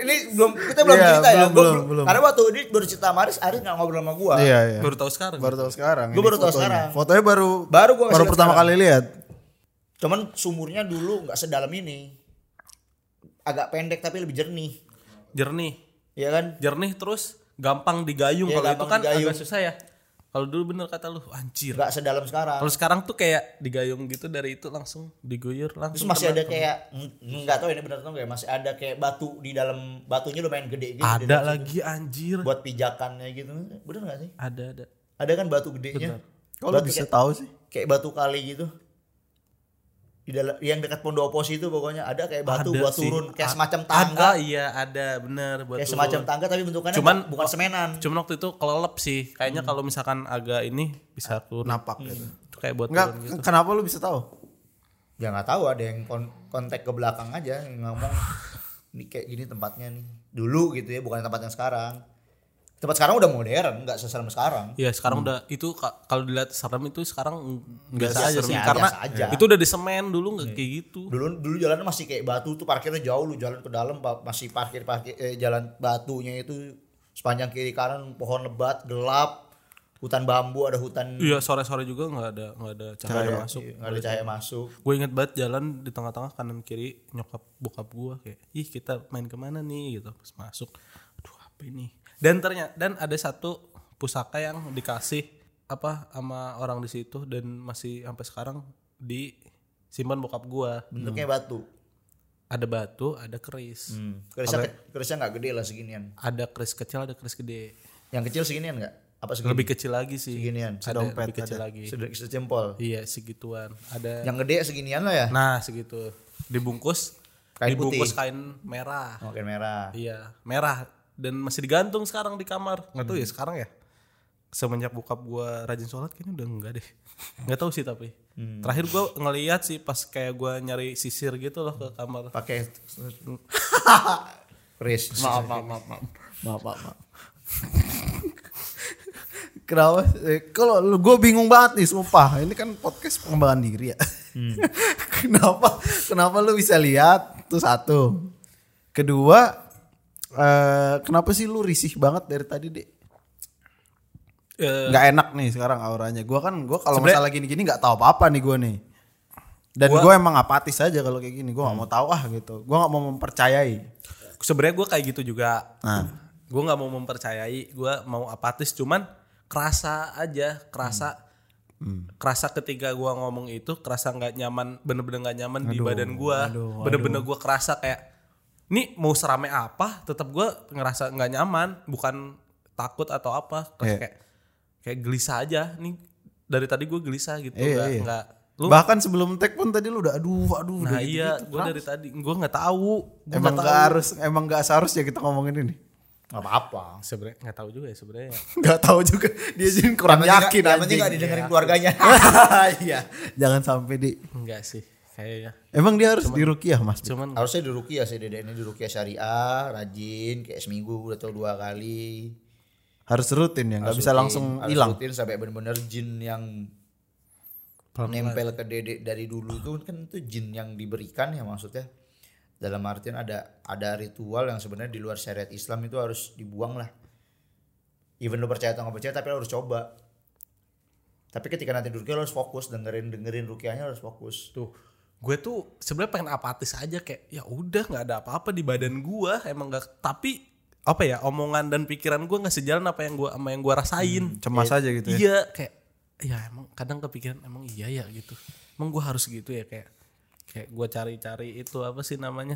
ini belum kita belum
Iya,
cerita ya.
belum, belum,
Gua belum-
belum.
Karena waktu ini baru cerita sama Aris, Aris gak ngobrol sama gua.
iya iya
Baru tahu sekarang.
baru tahu sekarang
Gua
ini
baru tahu
fotonya.
sekarang.
fotonya baru
Baru gua kasih
baru
lihat
pertama
sekarang.
kali lihat
Cuman sumurnya dulu nggak sedalam ini. Agak pendek tapi lebih jernih.
Jernih.
Iya kan?
Jernih terus gampang digayung
Iya,
kalau itu
gampang
kan
digayung.
agak susah ya. Kalau dulu bener kata lu, anjir.
Nggak sedalam sekarang.
Kalau sekarang tuh kayak digayung gitu dari itu langsung diguyur
Terus
langsung.
masih
kena.
ada kayak nggak tahu ini benar atau enggak, masih ada kayak batu di dalam batunya lumayan gede gitu. di
ada
dalam situ.
lagi anjir.
buat pijakannya gitu. Bener nggak sih?
Ada ada.
Ada kan batu gedenya.
kalau
Batu
bisa
kayak-
tahu sih
kayak batu kali gitu di dalam yang dekat Pondopo situ pokoknya ada kayak batu
Ada
buat
sih.
turun kayak
A-
semacam
Ada
tangga
iya ada bener buat
kayak
turun.
semacam tangga tapi bentukannya
Cuman-
bu- bukan semenan
Cuman waktu itu kelelep sih. Kayaknya
Hmm.
kalau misalkan agak ini bisa turun.
napak gitu
Itu kayak buat
Enggak,
turun gitu.
kenapa lu bisa tahu?
ya nggak tahu ada yang kon- kontak ke belakang aja yang ngomong ini kayak gini tempatnya nih dulu gitu ya bukan tempat yang sekarang tempat sekarang udah modern nggak seserem sekarang
Iya sekarang udah itu ka- kalau dilihat serem itu sekarang biasa aja
serem
sih
aja,
karena
biasa aja. Iya.
itu udah di semen dulu nggak kayak gitu.
dulu dulu jalan masih kayak batu tuh parkirnya jauh lu jalan ke dalam pa- masih parkir parkir eh, jalan batunya itu sepanjang kiri kanan pohon lebat gelap hutan bambu ada hutan
Iya sore-sore juga nggak ada nggak ada cahaya masuk.
Iya, nggak ada cahaya masuk
Gue inget banget jalan di tengah-tengah kanan kiri nyokap bokap gue kayak ih kita main kemana nih gitu pas masuk. Aduh apa ini? Dan ternyata dan ada satu pusaka yang dikasih apa sama orang di situ dan masih sampai sekarang disimpan bokap gue.
bentuknya batu
Ada batu, ada
Hmm.
keris,
kerisnya ke- kerisnya nggak gede lah seginian
ada keris kecil, ada keris gede.
yang kecil seginian nggak apa segini
Lebih kecil lagi sih.
Seginian,
ada lebih kecil lagi.
Seder- sejempol
Iya segituan. Ada
yang gede seginian lah ya
Nah segitu dibungkus
Kain putih.
dibungkus kain merah.
oke Oh, merah
Iya merah dan masih digantung sekarang di kamar. Nggak tahu ya sekarang ya. Semenjak bokap gua rajin sholat kayaknya udah enggak deh. Nggak tahu sih tapi. Terakhir gua ngeliat sih pas kayak gua nyari sisir gitu loh ke kamar.
pakai keris maaf maaf maaf, maaf.
Maaf, maaf, maaf. Kenapa? Eh, Kalau lu gue bingung banget nih, sumpah. Ini kan podcast pengembangan diri ya.
Hmm.
kenapa? Kenapa lu bisa lihat? Itu satu. Kedua, eh, kenapa sih lu risih banget dari tadi, Dek?
Eh,
Nggak enak nih sekarang auranya. Gua kan gua kalau
Sebenernya-
masalah gini-gini nggak tahu apa-apa nih gua nih. Dan
Gua-
gue emang apatis aja kalau kayak gini. Gue nggak mau
Hmm.
tahu ah gitu. Gue nggak mau mempercayai.
Sebenarnya gua kayak gitu juga.
Nah,
gue nggak mau mempercayai gue mau apatis cuman kerasa aja kerasa
Hmm.
kerasa ketika gue ngomong itu kerasa nggak nyaman bener-bener nggak nyaman di badan gue bener-bener gue kerasa kayak ini mau serame apa tetap gue ngerasa nggak nyaman bukan takut atau apa Terus
Iya.
kayak kayak gelisah aja nih dari tadi gue gelisah gitu
Iya,
nggak
iya.
nggak- lu
bahkan sebelum tag pun tadi lu udah aduh aduh udah
nah
gitu-gitu.
iya gue dari tadi gue nggak tahu gue
Emang gak harus, emang gak seharusnya kita ngomongin ini.
nggak apa-apa
sebenarnya nggak tahu juga ya sebenarnya
Gak tahu juga, dia jadi kurang yakin
yang penting nggak
anjing.
didengerin keluarganya
Iya, jangan sampai di.
enggak sih kayaknya
Emang dia harus dirukiah mas.
cuman
harusnya di rukiah sih dede ini di rukiah syariah rajin kayak seminggu atau dua kali
Harus rutin ya, nggak
Harus
bisa
rutin,
langsung
harus
hilang.
rutin sampai bener-bener jin yang nempel ke dede dari dulu tuh kan itu jin yang diberikan ya maksudnya dalam artian ada ada ritual yang sebenarnya di luar syariat Islam itu harus dibuang lah even lu percaya atau nggak percaya tapi lu harus coba tapi ketika nanti rukiah lu harus fokus dengerin dengerin rukiahnya harus fokus
Tuh, gue tuh sebenarnya pengen apatis aja kayak ya udah nggak ada apa-apa di badan gue emang nggak tapi apa ya omongan dan pikiran gue nggak sejalan apa yang gue sama yang gue rasain.
cemas aja gitu ya
Iya kayak ya emang kadang kepikiran emang iya ya gitu. Emang gue harus gitu ya kayak kayak gue cari-cari itu apa sih namanya?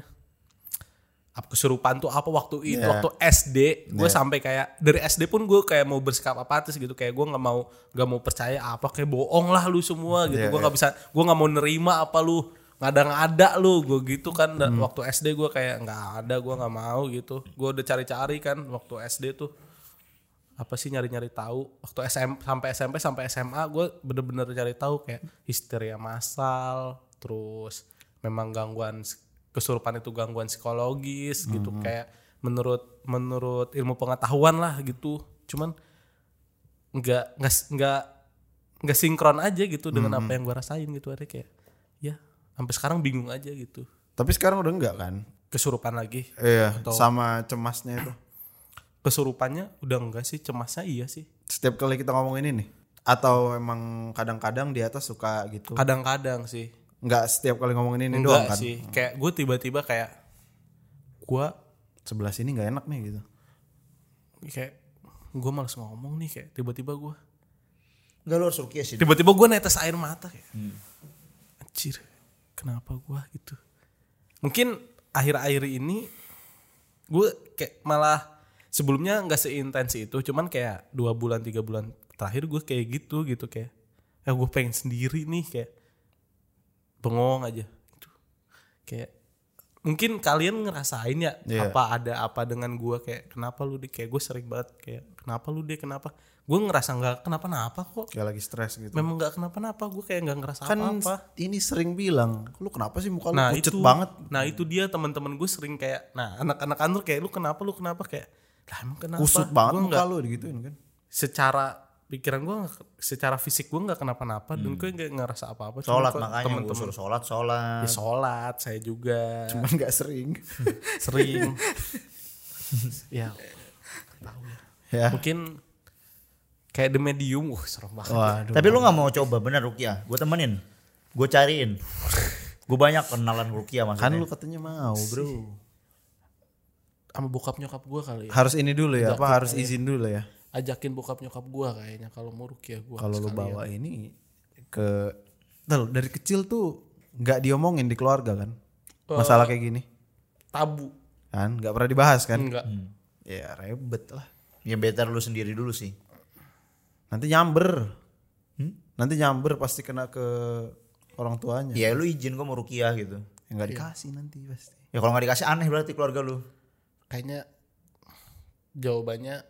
Apa kesurupan tuh apa waktu itu waktu SD gue sampai kayak dari SD pun gue kayak mau bersikap apatis gitu kayak gue nggak mau nggak mau percaya apa kayak bohong lah lu semua gitu gue nggak bisa gue nggak mau nerima apa lu nggak ada nggak ada lu gue gitu kan dan waktu SD gue kayak nggak ada gue nggak mau gitu gue udah cari-cari kan waktu SD tuh apa sih nyari-nyari tahu waktu SM sampai SMP sampai SMA gue bener-bener cari tahu kayak histeria massal terus memang gangguan s- kesurupan itu gangguan psikologis gitu kayak menurut menurut ilmu pengetahuan lah gitu cuman nggak nggak s- nggak nggak sinkron aja gitu dengan apa yang gue rasain gitu ada kayak ya sampai sekarang bingung aja gitu
tapi sekarang udah enggak kan
kesurupan lagi
iya sama cemasnya itu
kesurupannya udah enggak sih cemasnya iya sih
setiap kali kita ngomong ini nih atau emang kadang-kadang di atas suka gitu
kadang-kadang sih
nggak setiap kali ngomong ini doang
Enggak
kan
sih. Kayak gue tiba-tiba kayak gue
sebelah sini nggak enak nih gitu
kayak gue males ngomong nih kayak tiba-tiba gue
enggak lu harus rukiah sih
tiba-tiba gue netes air mata kayak anjir kenapa gue gitu mungkin akhir-akhir ini gue kayak malah sebelumnya nggak seintens itu cuman kayak dua bulan tiga bulan terakhir gue kayak gitu gitu kayak ya gue pengen sendiri nih kayak bengong aja gitu. kayak mungkin kalian ngerasain ya
Iya.
apa ada apa dengan gue kayak kenapa lu deh kayak gue sering banget kayak kenapa lu deh kenapa gue ngerasa nggak kenapa-napa kok
kayak lagi stres gitu
memang nggak kenapa-napa gue kayak nggak ngerasa
kan
apa-apa
ini sering bilang lu kenapa sih muka lu
nah
pucet
itu
banget
nah itu dia teman-teman gue sering kayak nah anak-anak kantor kayak lu kenapa lu kenapa kayak lah emang kenapa
kusut banget
Gua
muka
nggak-
lu digituin kan
secara pikiran gue secara fisik gue nggak kenapa-napa dan
Hmm.
gue nggak ngerasa apa-apa Cuma
sholat
kok
makanya gue
temen-temen
suruh sholat sholat
ya sholat saya juga
cuman nggak sering
sering ya
ya
mungkin kayak the medium wah serem banget ya.
waduh
Tapi lu nggak mau coba bener Rukia? Gue temenin, gue cariin. Gue banyak kenalan Rukia
kan
maksudnya.
lu katanya mau bro
sama bokap nyokap gue kali ya.
harus ini dulu ya apa harus izin dulu ya
ajakin bokap nyokap gue kayaknya kalau mau rukiah gue
kalau lu bawa ini ke Tel, dari kecil tuh nggak diomongin di keluarga kan masalah kayak gini
tabu
kan nggak pernah dibahas kan
enggak
ya ribet lah
Ya better lu sendiri dulu sih.
nanti nyamber nanti nyamber pasti kena ke orang tuanya
Ya lu izin gue mau Rukia gitu.
Ya, nggak dikasih nanti pasti
Ya kalau nggak dikasih aneh berarti keluarga lu.
kayaknya jawabannya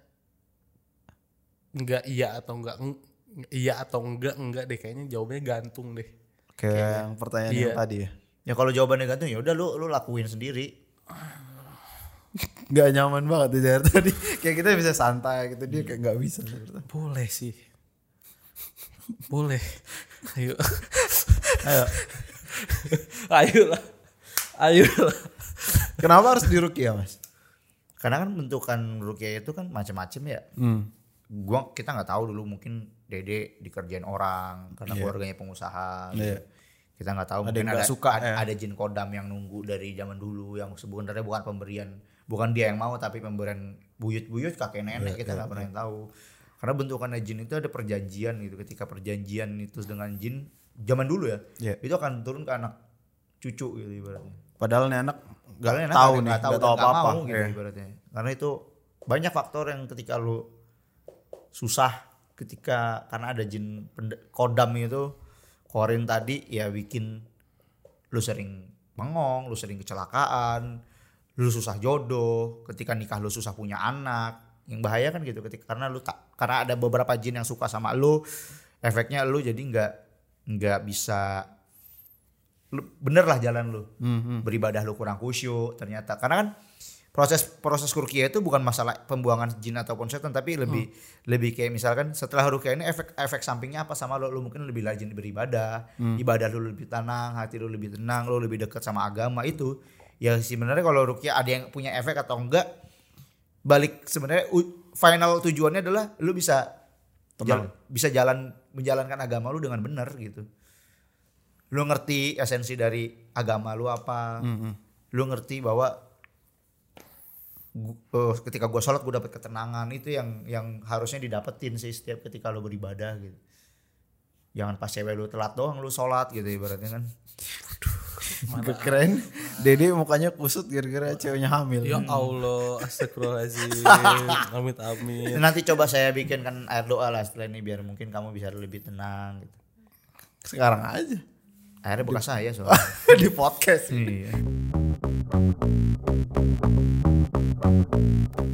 enggak iya atau enggak eng- iya atau enggak enggak deh kayaknya jawabannya gantung deh
kayak yang pertanyaan yang tadi ya
Ya kalau jawabannya gantung ya udah lu lu lakuin sendiri.
nggak nyaman banget ya dari tadi kayak kita bisa santai gitu dia kayak nggak bisa sebenarnya.
boleh sih boleh ayo
Ayo.
ayo lah ayo lah
kenapa harus dirukia mas
Karena kan bentukan Rukia itu kan macam-macam ya.
Hmm.
Gua kita nggak tahu dulu mungkin Dede dikerjain orang karena keluarganya pengusaha.
Iya.
gitu. Kita nggak tahu
Ada
mungkin
yang nggak
ada
suka,
ada,
ya.
ada jin kodam yang nunggu dari zaman dulu yang sebenarnya bukan pemberian bukan dia yang mau tapi pemberian buyut-buyut kakek
Iya,
nenek kita nggak pernah yang tahu. Karena bentukannya jin itu ada perjanjian gitu. Ketika perjanjian itu dengan jin zaman dulu ya,
Iya.
itu akan turun ke anak cucu gitu ibaratnya.
padahal nih anak nggak
Karena enak
tahu
ada
nih
ya, nggak
nggak
tahu dan
tahu
nggak
apa apa
mau gitu ibaratnya. Karena itu banyak faktor yang ketika lu susah ketika karena ada jin pende- kodam itu korin tadi ya bikin lu sering mengong, lu sering kecelakaan, lu susah jodoh, ketika nikah lu susah punya anak. Yang bahaya kan gitu ketika karena lu tak karena ada beberapa jin yang suka sama lu, efeknya lu jadi nggak nggak bisa lu, bener lah jalan lu beribadah lu kurang khusyuk ternyata karena kan proses proses kurkia itu bukan masalah pembuangan jin ataupun setan tapi lebih lebih kayak misalkan setelah rukia ini efek efek sampingnya apa sama lo lo mungkin lebih rajin beribadah ibadah lo lebih tenang hati lo lebih tenang lo lebih dekat sama agama itu ya sebenarnya kalau rukia ada yang punya efek atau enggak balik sebenarnya u- final tujuannya adalah lo bisa jal- bisa jalan menjalankan agama lo dengan benar gitu lu ngerti esensi dari agama lu apa lu ngerti bahwa gu- eh, ketika gua sholat gua dapat ketenangan itu yang yang harusnya didapetin sih setiap ketika lu beribadah gitu jangan pas cewek lu telat doang lu sholat gitu ibaratnya kan
Keren. Dede mukanya kusut gara-gara ceweknya hamil.
Ya Allah, astagfirullahaladzim. amit amit.
nanti coba saya bikinkan air doa lah setelah ini biar mungkin kamu bisa lebih tenang gitu
Sekarang aja
airnya bekas saya soalnya
di podcast.
Iya.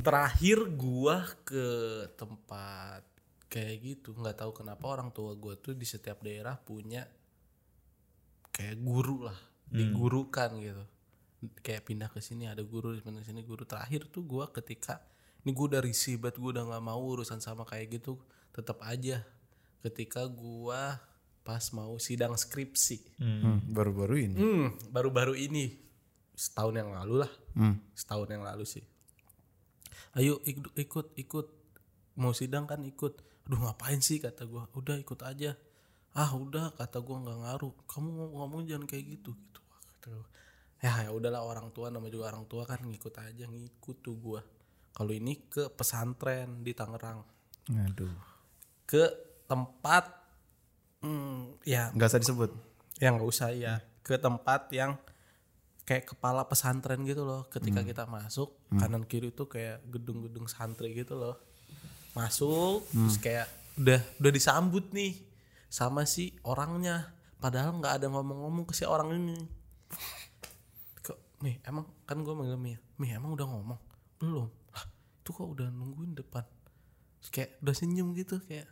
Terakhir gua ke tempat kayak gitu, nggak tahu kenapa orang tua gua tuh di setiap daerah punya kayak guru lah, digurukan gitu. Kayak pindah ke sini ada guru, pindah ke sini guru. Terakhir tuh gua ketika ini gua udah risih banget, gua udah nggak mau urusan sama kayak gitu, tetap aja ketika gua pas mau sidang skripsi.
Hmm, Baru-baru ini.
Hmm, baru-baru ini setahun yang lalu lah.
Hmm.
Setahun yang lalu sih. Ayo ik- ikut ikut mau sidang kan ikut. Aduh ngapain sih kata gua. Udah ikut aja. Ah udah kata gua nggak ngaruh. Kamu ngom- ngomong jangan kayak gitu gitu. Wah, kata gua. Ya ya udahlah orang tua nama juga orang tua kan ngikut aja ngikut tuh gua. Kalau ini ke pesantren di Tangerang
Aduh.
ke tempat hmm, ya
Gak usah disebut.
yang nggak usah ya ke tempat yang kayak kepala pesantren gitu loh ketika kita masuk kanan kiri tuh kayak gedung-gedung santri gitu loh masuk terus kayak udah udah disambut nih sama si orangnya padahal nggak ada ngomong-ngomong ke si orang ini kok nih emang kan gue manggil Mia Mia emang udah ngomong belum Lah, itu kok udah nungguin depan Terus kayak udah senyum gitu kayak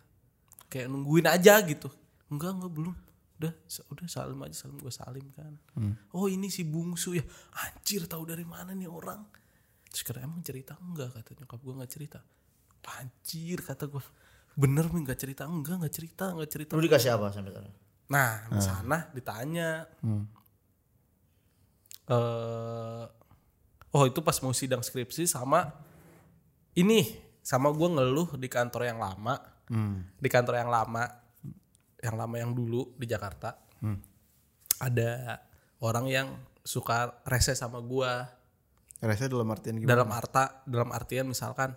kayak nungguin aja gitu enggak enggak belum udah sa- udah salim aja salim gue salim kan oh ini si bungsu ya anjir tahu dari mana nih orang terus kata emang cerita enggak kata nyokap gue nggak cerita anjir kata gue bener mi nggak cerita enggak nggak cerita nggak cerita
lu dikasih apa sampai sekarang
Nah, di sana ditanya. eh oh, itu pas mau sidang skripsi sama ini sama gue ngeluh di kantor yang lama. Di kantor yang lama, yang lama yang dulu di Jakarta. Ada orang yang suka rese sama gua
Rasanya dalam artian gimana?
dalam arta dalam artian misalkan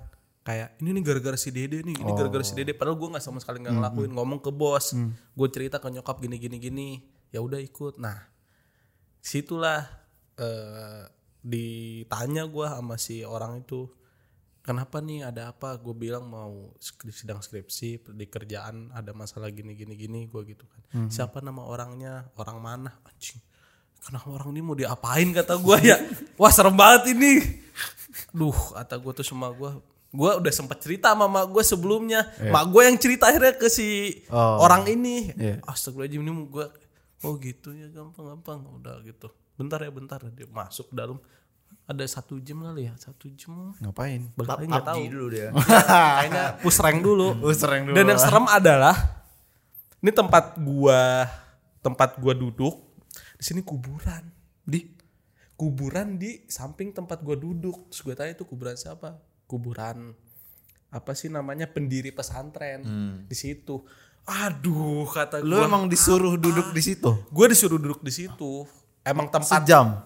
kayak ini nih gara-gara si dede nih ini gara-gara si dede padahal gue nggak sama sekali nggak ngelakuin ngomong ke bos gue cerita ke nyokap gini gini gini ya udah ikut nah situlah eh, ditanya gue sama si orang itu kenapa nih ada apa gue bilang mau skri- sidang skripsi di kerjaan ada masalah gini gini gini gue gitu kan
Mhm.
siapa nama orangnya orang mana anjing kenapa orang ini mau diapain kata gue ya wah serem banget ini duh kata gue tuh semua gue gue udah sempat cerita sama mak gue sebelumnya mak gue yang cerita akhirnya ke si
Iya. Oh.
orang ini
Iya.
astagfirullahaladzim ini gue oh gitu ya gampang-gampang udah gitu bentar ya bentar dia masuk dalam ada satu jam kali ya satu jam
Ngapain?
Balik lagi nggak tahu.
PUBG dulu dia
Kayaknya push rank dulu.
Push rank dulu
Dan yang serem adalah ini tempat gua tempat gua duduk. Di sini kuburan. Di kuburan di samping tempat gua duduk. Terus gua tanya itu kuburan siapa? Kuburan apa sih namanya pendiri pesantren di situ. Aduh kata
Hmm. Lu
gua.
emang disuruh duduk di situ?
gua disuruh duduk di situ. Emang tempat
Sejam.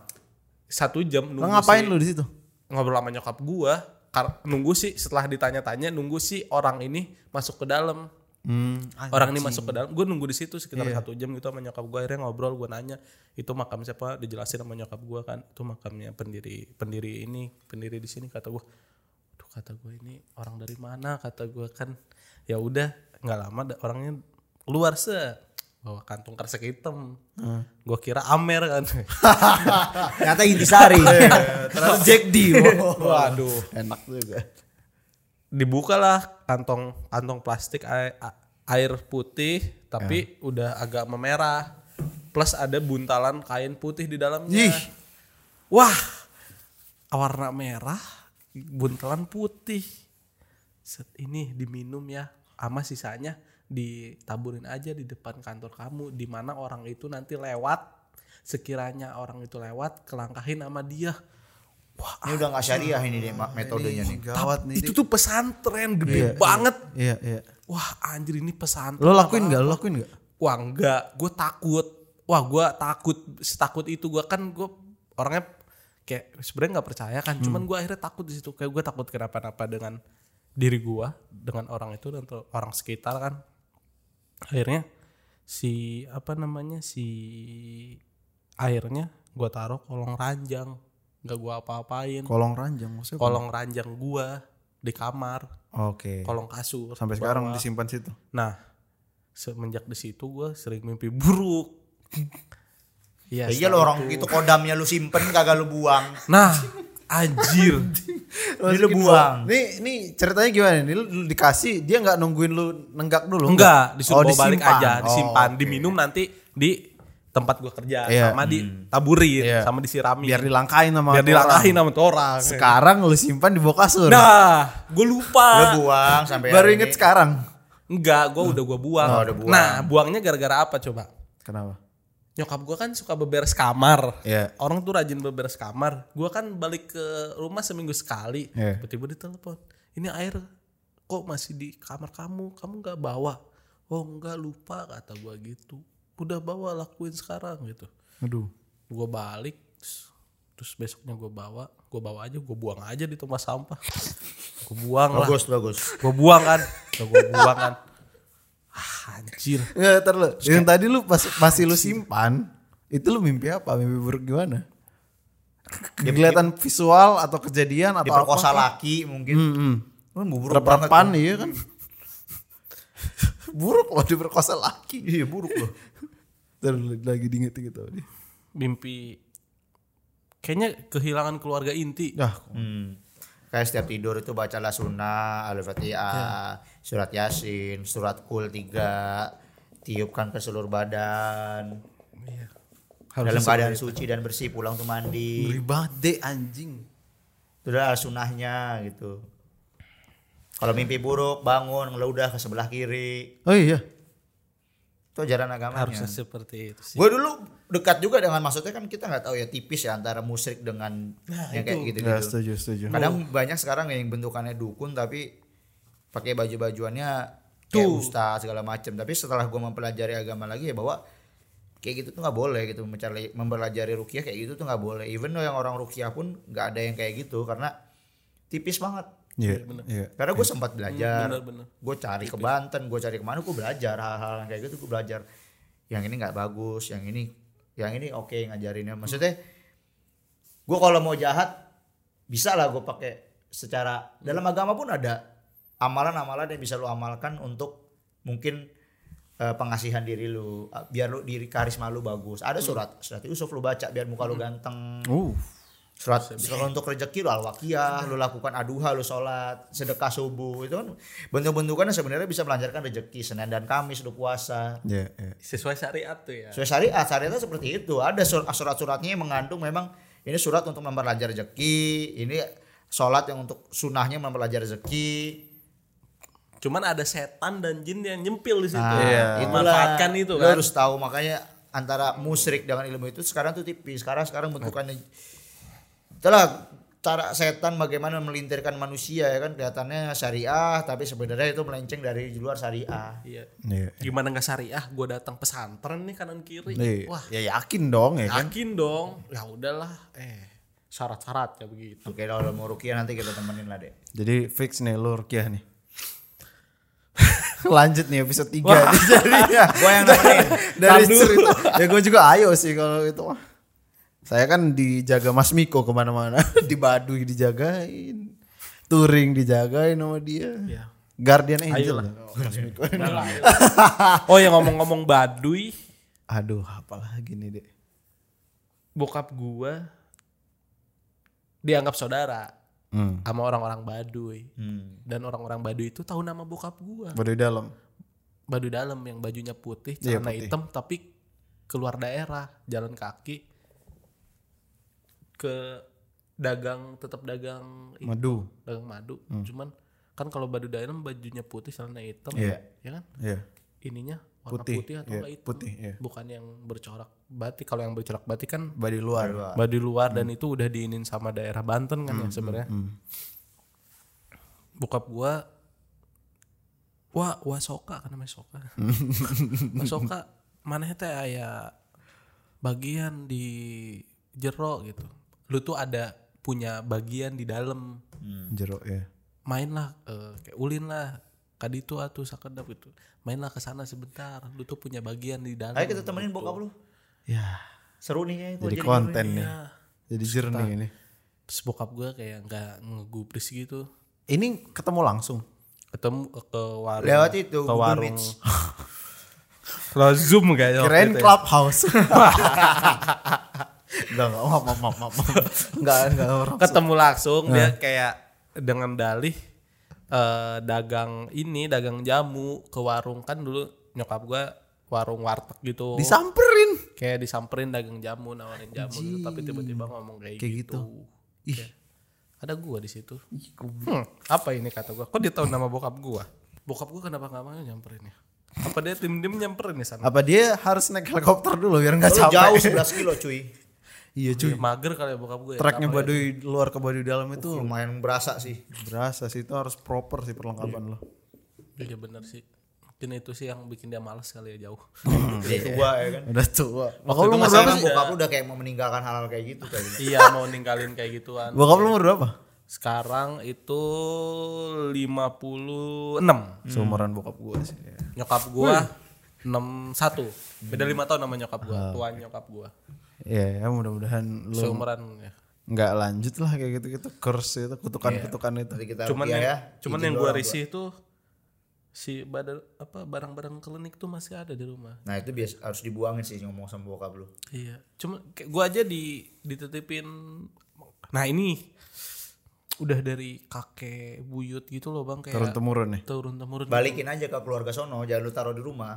satu jam
Lu
nunggu
ngapain
si-
lu di situ?
ngobrol sama nyokap gua kar- nunggu sih setelah ditanya-tanya nunggu sih orang ini masuk ke dalam
Hmm.
orang ini masuk ke dalam gue nunggu di situ sekitar satu jam gitu sama nyokap gua akhirnya ngobrol gua nanya itu makam siapa dijelasin sama nyokap gua kan itu makamnya pendiri pendiri ini pendiri di sini kata gua aduh kata gua ini orang dari mana kata gua kan ya udah nggak lama da- orangnya keluar se bawa kantung kresek hitam gua kira Amer kan Iya,
ternyata intisari
Ternyata Jack D.
Waduh.
Enak juga.
dibukalah kantong kantong plastik ai- a- air putih
Ya.
tapi udah agak memerah plus ada buntalan kain putih di dalamnya
Ih.
wah warna merah, buntelan putih. Set ini diminum ya, sama sisanya ditaburin aja di depan kantor kamu di mana orang itu nanti lewat sekiranya orang itu lewat kelangkahin sama dia
Ini udah nggak syariah ini deh ma- metodenya
Iya.
nih.
Gawat Iya nih.
itu tuh pesantren gede banget
Iya, iya.
wah anjir ini pesantren
Lo lakuin nggak? Lo lakuin nggak?
wah enggak gue takut wah gue takut setakut itu gue kan gue orangnya kayak sebenarnya nggak percaya kan
Hmm.
cuman gue akhirnya takut di situ kayak gue takut kenapa-napa dengan diri gue dengan orang itu dan ter- orang sekitar kan akhirnya si apa namanya si airnya gue taruh kolong ranjang nggak gue apa-apain
Kolong ranjang maksudnya.
kolong ranjang gue di kamar
Oke.
kolong kasur
Sampai sekarang disimpan situ.
Nah, semenjak di situ gue sering mimpi buruk. Iya.
Ya iya lo orang itu kodamnya lu simpen kagak lu buang.
Nah, anjir.
Ini lu buang.
Nih, nih ceritanya gimana? Nih lu, lu dikasih, dia nggak nungguin lu nenggak dulu?
Enggak,
Oh,
disuruh bawa balik
disimpan.
aja,
Oh,
disimpan,
oke.
diminum nanti di tempat gue kerja
Iya.
sama ditaburin,
Iya.
sama disiramin.
Biar dilangkain sama
biar
orang.
dilangkahin sama tuh orang.
Sekarang lu simpan di bawah kasur.
Nah, gue
Lu
lupa.
buang sampai
Baru
hari
inget
ini.
sekarang.
Enggak, gue udah gue buang.
Oh, udah buang.
Nah, buangnya gara-gara apa coba?
Kenapa?
Nyokap gue kan suka beberes kamar.
Iya.
Orang tuh rajin beberes kamar. Gua kan balik ke rumah seminggu sekali.
Iya.
Tiba-tiba ditelepon. Ini air kok masih di kamar kamu? Kamu nggak bawa? Oh nggak lupa kata gua gitu. Udah bawa lakuin sekarang gitu.
Aduh.
Gua balik. Terus besoknya gua bawa. Gua bawa aja. Gua buang aja di tempat sampah. Gua buang lah.
Bagus bagus.
Gua buang kan. Udah Gua buang kan. Ah, anjir.
Nggak, Ya, ntar lu. Yang tadi lu pas, masih lu simpan, itu lu mimpi apa? Mimpi buruk gimana? Kelihatan visual atau kejadian atau
Diperkosa
apa?
laki mungkin.
Hmm.
Lu buruk banget.
Rep-repan iya kan. buruk loh diperkosa laki.
Iya buruk loh.
Ntar lu lagi diinget gitu.
Mimpi. Kayaknya kehilangan keluarga inti.
Nah,
Hmm. Kayak setiap tidur itu bacalah sunnah, al-fatihah, surat yasin, surat kul tiga, tiupkan ke seluruh badan.
Iya.
dalam keadaan suci dan bersih pulang tuh mandi.
ngeri banget deh anjing.
Itu adalah sunnahnya gitu. Kalau mimpi buruk bangun ngeludah ke sebelah kiri.
Oh iya.
Itu ajaran agamanya.
harusnya seperti itu sih.
Gue dulu dekat juga dengan maksudnya kan kita nggak tahu ya tipis ya antara musrik dengan yang kayak gitu
Ya,
gitu.
setuju, setuju.
Kadang banyak sekarang yang bentukannya dukun tapi pakai baju-bajuannya kayak ustaz segala macam. Tapi setelah gue mempelajari agama lagi ya bahwa kayak gitu tuh nggak boleh gitu mencari mempelajari rukiah kayak gitu tuh nggak boleh. Even yang orang rukiah pun nggak ada yang kayak gitu karena tipis banget.
Iya, iya.
Karena gue sempat belajar,
bener.
gue cari ke Banten, gue cari kemana, gue belajar hal-hal yang kayak gitu, gue belajar. Yang ini nggak bagus, yang ini, yang ini oke ngajarinnya. Maksudnya, gue kalau mau jahat bisa lah gue pakai secara dalam agama pun ada amalan-amalan yang bisa lu amalkan untuk mungkin eh, pengasihan diri lu, eh, biar lu diri karisma lu bagus. Ada surat, surat Yusuf lu baca biar muka lu ganteng
Uh,
surat surat untuk rezeki lu alwakiyah lu lakukan aduha lu sholat sedekah subuh itu kan bentuk-bentukannya sebenarnya bisa melancarkan rezeki senin dan kamis lu puasa
iya, iya.
Sesuai syariat tuh ya.
sesuai syariat syariatnya seperti itu ada sur- surat-suratnya yang mengandung memang ini surat untuk memperlancar rezeki ini sholat yang untuk sunahnya memperlancar rezeki
Cuman ada setan dan jin yang nyempil di situ.
Nah,
Iya.
itulah.
Memanfaatkan itu
Lu
kan.
harus tahu makanya antara musyrik dengan ilmu itu sekarang tuh tipis. Sekarang sekarang bentukannya itulah cara setan bagaimana melintirkan manusia ya kan kelihatannya syariah tapi sebenarnya itu melenceng dari luar syariah.
Iya.
Iya.
Gimana nggak syariah? Gue datang pesantren nih kanan kiri.
Nih,
Wah,
ya yakin dong ya kan.
yakin dong. Ya udahlah. Eh, syarat-syarat ya begitu.
Oke kalau mau rukiah nanti kita temenin lah deh.
Jadi fix nih lu Rukiah nih. Lanjut nih episode 3 nih jadinya.
Gua yang nemenin.
Dari
Tandu.
cerita. Ya gue juga ayo sih kalau itu mah. Saya kan dijaga Mas Miko kemana-mana. Di Baduy dijagain. Touring dijagain sama dia.
Iya.
Guardian Angel. Mas Miko.
Ah.
Oh ya ngomong-ngomong baduy.
Aduh apalagi nih dek.
Bokap gue dianggap saudara
Hmm.
sama orang-orang baduy.
Hmm.
Dan orang-orang baduy itu tahu nama bokap gue.
Baduy dalam.
Baduy dalam yang bajunya putih,
Iya,
celana
putih.
hitam tapi keluar daerah, jalan kaki ke dagang tetap dagang i-
Madu. Hmm.
dagang madu cuman kan kalau badu dalam bajunya putih celana hitam
Iya.
ya kan
Iya.
ininya warna putih,
Putih,
atau
iya,
nggak hitam
putih, iya.
bukan yang bercorak batik kalau yang bercorak batik kan
Body luar.
badu luar
Hmm.
dan itu udah diinin sama daerah Banten kan ya sebenarnya bokap gua wah wah soka kan namanya soka wah soka mana teh aya bagian di jero gitu lu tuh ada punya bagian di dalam
Jeruk ya.
mainlah eh, kayak ulin lah kadi itu atuh sakedap gitu mainlah ke sana sebentar lu tuh punya bagian di dalam
Ayo kita temenin bokap lu.
Ya.
Seru nih kayaknya.
Jadi konten nih.
ya
Jadi jernih ini.
terus bokap gue kayak nggak ngegubris gitu
Ini ketemu langsung.
ketemu ke, ke warung
Lewat itu,
ke
Google
warung
Meets.
Lo zoom kayaknya waktu
Keren
itu ya.
clubhouse. Enggak, enggak, maaf, maaf, maaf, maaf. Enggak, enggak, orang.
ketemu langsung Nah. dia kayak dengan dalih eh, dagang ini dagang jamu ke warung kan dulu nyokap gue warung warteg gitu
Disamperin.
kayak disamperin dagang jamu nawarin jamu gitu, tapi tiba-tiba ngomong kayak,
Kayak
gitu,
Ih.
Kayak, ada gua di situ Hmm, apa ini kata gua kok dia tahu nama bokap gua bokap gua kenapa nggak mau nyamperin ya apa dia tim tim nyamperin ya sana
Apa dia harus naik helikopter dulu biar nggak
Lu
capek?
jauh 11 kilo cuy.
Iya cuy.
Ya, mager kali ya bokap gua ya.
Treknya baduy luar ke baduy dalam itu
Lumayan berasa sih.
berasa sih itu harus proper sih perlengkapan lo.
iya bener sih mungkin itu sih yang bikin dia males kali ya jauh
Itu gua ya kan.
Iya. Udah tua.
Waktu
Hmm. Bokap
itu
lu umur
masih
berapa
emang
sih?
bokap lu udah kayak mau meninggalkan hal-hal kayak gitu kali.
iya mau ninggalin kayak gituan
Bokap lu umur berapa?
sekarang itu 56
Hmm. Seumuran bokap gua sih. ya.
nyokap gua 61 beda lima tahun sama nyokap gua tuan nyokap gua
Ya, ya mudah-mudahan lu
seumuran ya
nggak lanjut lah kayak gitu-gitu curse itu kutukan-kutukan itu.
Nanti kita
cuman
rupiah
yang,
ya.
cuman yang gua risih tuh si badar apa barang-barang klinik tuh masih ada di rumah
Nah itu biasa harus dibuangin sih ngomong sama bokap lu.
iya cuma kayak gua aja di dititipin nah ini udah dari kakek buyut gitu loh bang
Turun
kayak
temurun nih.
turun temurun
Balikin aja ke keluarga sono, jangan lu taruh di rumah.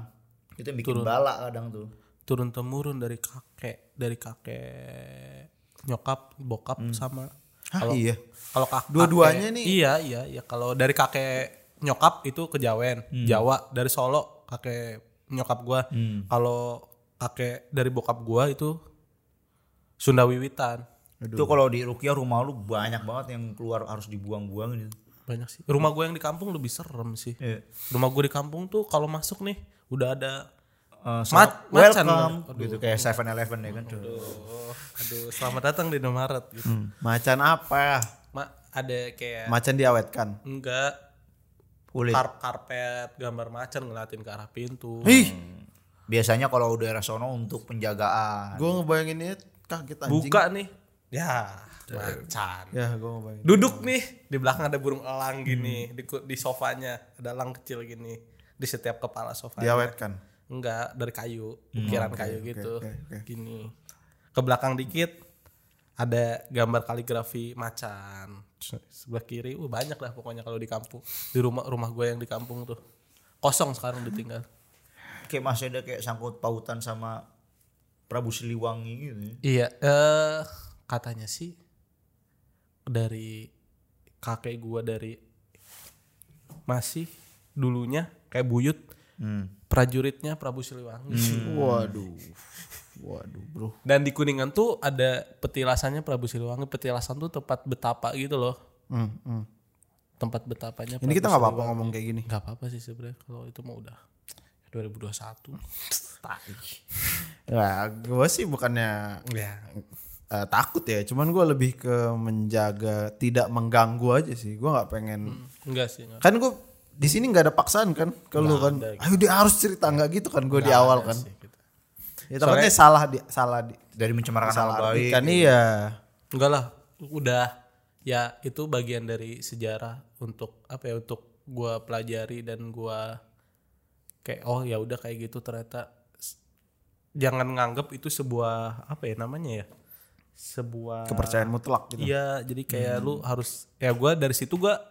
Itu yang bikin balak kadang tuh.
turun temurun dari kakek dari kakek nyokap bokap sama
Hmm. Hah, iya.
kalau kak
Dua-duanya
kakek-
nih.
iya iya iya kalau dari kakek nyokap itu kejawen
Hmm.
Jawa dari Solo kakek nyokap gua
Hmm.
kalau kakek dari bokap gua itu Sunda Wiwitan
Itu kalau di Rukia rumah lu banyak banget yang keluar harus dibuang-buangin itu.
banyak sih rumah gua yang di kampung lebih serem sih
Iya.
rumah gua di kampung tuh kalau masuk nih udah ada
Eh,
Mat- macan.
welcome gitu kayak 7-Eleven ya kan.
oh, aduh selamat datang di Indomaret gitu.
Hmm. Macan apa?
Mak ada kayak
Macan diawetkan.
enggak
Kulit.
kar- karpet gambar macan ngeliatin ke arah pintu
Ih,
Biasanya kalau daerah sono untuk penjagaan.
gua ngebayanginnya kaget anjing.
buka nih ya macan
Ya, gua ngebayangin.
duduk nih di belakang ada burung elang gini di, ku- di sofanya ada elang kecil gini di setiap kepala sofanya
Diawetkan.
enggak dari kayu ukiran kayu gitu
Hmm, oke, oke.
gini ke belakang dikit ada gambar kaligrafi macan Terus sebelah kiri uh banyak lah pokoknya kalau di kampung di rumah rumah gue yang di kampung tuh kosong sekarang ditinggal
Kayak masih ada kayak sangkut pautan sama Prabu Siliwangi gitu. ya.
Iya, eh katanya sih dari kakek gua dari masih dulunya kayak buyut
Hmm.
prajuritnya Prabu Siliwangi.
Waduh. Waduh, bro.
Dan di Kuningan tuh ada petilasannya Prabu Siliwangi. Petilasan tuh tempat betapa gitu loh.
Hmm, hmm.
Tempat betapanya.
Ini kita nggak apa-apa ngomong kayak gini.
Gak apa-apa sih sebenarnya kalau itu mau udah 2021. Tai.
Ya, gue sih bukannya
Ya.
eh, takut ya, cuman gue lebih ke menjaga tidak mengganggu aja sih. Gue nggak pengen.
Enggak sih. Enggak.
Kan gue di sini nggak ada paksaan kan, kalau kan, ayo dia harus cerita nggak gitu kan gue di awal kan.
gitu.
Ya takutnya salah di salah di
Dari gitu. mencemarkan
salah
nama baik.
artikan
gitu.
iya.
Enggak lah, udah ya itu bagian dari sejarah untuk apa ya untuk gua pelajari dan gua kayak oh ya udah kayak gitu ternyata s- jangan nganggap itu sebuah apa ya namanya ya sebuah
Kepercayaan mutlak gitu.
iya jadi kayak lu harus ya gua dari situ gua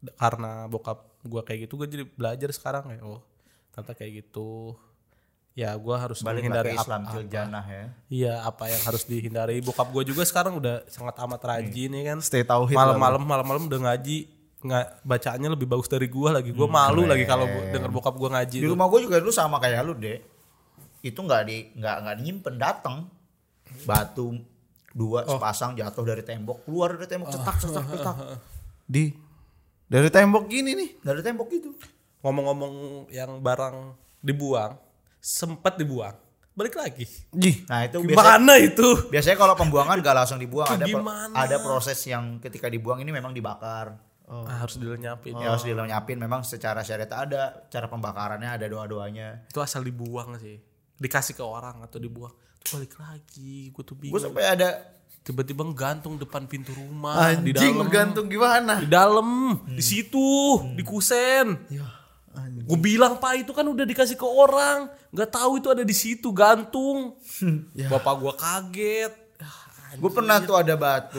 d- ya. karena bokap gua kayak gitu gua jadi belajar sekarang kayak oh ternyata kayak gitu ya gue harus
Balik
menghindari
lagi ke
apa
Islam til janah ya.
iya apa yang harus dihindari bokap gue juga sekarang udah sangat amat
Hmm.
rajin ya kan
Stay tauhid lah,
malam-malam malam-malam udah ngaji nggak bacaannya lebih bagus dari gue lagi gue malu lagi kalau gua- denger bokap gue ngaji
Hmm, Di
tuh.
rumah gue juga dulu sama kayak lu deh. Itu nggak di nggak nggak nyimpen datang batu dua
Oh.
sepasang jatuh dari tembok keluar dari tembok cetak cetak cetak
di dari tembok gini nih
dari tembok gitu.
ngomong-ngomong yang barang dibuang sempat dibuang balik lagi
Jih,
Nah itu biasanya,
gimana itu
biasanya kalau pembuangan gak langsung dibuang ada pro-
Gimana?
ada proses yang ketika dibuang ini memang dibakar.
Ah, harus dilenyapin
Ya harus dilenyapin memang secara syariat ada cara pembakarannya ada doa doanya.
itu asal dibuang sih dikasih ke orang atau dibuang Tuh balik lagi gue tuh
Gue
bingung
sampai ada
tiba-tiba gantung depan pintu rumah di
anjing
dalam
gantung gimana Hmm.
di dalam di situ di kusen
Ya,
gue bilang pak itu kan udah dikasih ke orang nggak tahu itu ada di situ gantung
Ya.
bapak gue kaget Ah,
Gue pernah tuh ada batu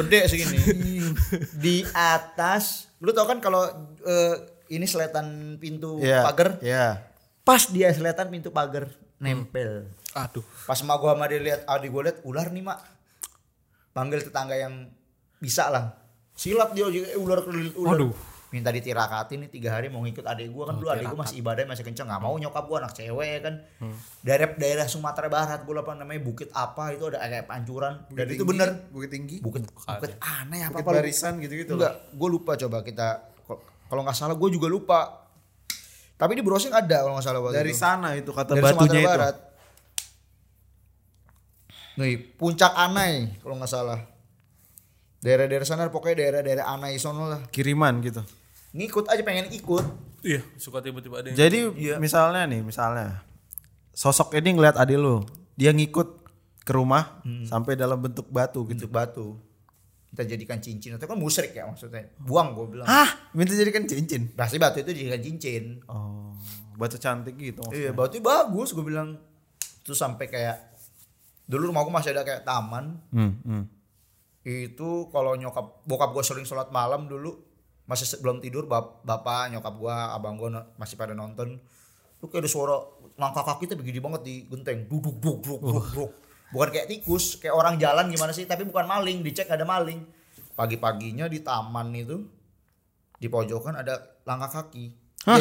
gede segini di atas. Lu tau kan kalau eh, ini seletan pintu
Iya.
pagar,
ya
pas dia seletan pintu pagar nempel.
aduh
Pas emak gua sama dia lihat, adik gua lihat ular nih mak. Panggil tetangga yang bisa lah. Silat dia juga eh, ular kelilit ular.
Waduh.
Minta ditirakatin nih tiga hari mau ngikut adik gua
Oh,
kan dulu adik gua masih ibadah masih kenceng nggak mau nyokap gua anak cewek kan
Hmm.
daerah daerah Sumatera Barat gua lupa namanya bukit apa itu ada kayak pancuran dan itu bener
bukit tinggi
bukit bukit aneh apa
bukit
apa
barisan gitu-gitu
enggak gue lupa coba kita kalau nggak salah gue juga lupa tapi di browsing ada kalau nggak salah waktu
dari
itu.
sana itu kata
Dari Sumatera
batunya itu
Barat. nih puncak Anai kalau nggak salah daerah-daerah sana pokoknya daerah-daerah Anai sono lah
kiriman gitu
ngikut aja pengen ikut
iya suka tiba-tiba ada yang
jadi misalnya nih misalnya sosok ini ngeliat adik lu dia ngikut ke rumah sampai dalam bentuk batu gitu
bentuk batu kita jadikan cincin atau kan musrik ya maksudnya buang gue bilang
ah minta jadikan cincin
pasti batu itu dijadikan cincin
oh batu cantik gitu maksudnya.
Iya, batu bagus gue bilang. Terus sampai kayak dulu rumah gue masih ada kayak taman.
Hmm, hmm.
Itu kalau nyokap bokap gue sering sholat malam dulu masih se- belum tidur bap- bapak nyokap gue abang gue no- masih pada nonton lu kayak ada suara langkah kaki tuh begini banget di genteng duduk duduk duduk duduk bukan kayak tikus kayak orang jalan gimana sih tapi bukan maling dicek ada maling pagi paginya di taman itu di pojokan ada langkah kaki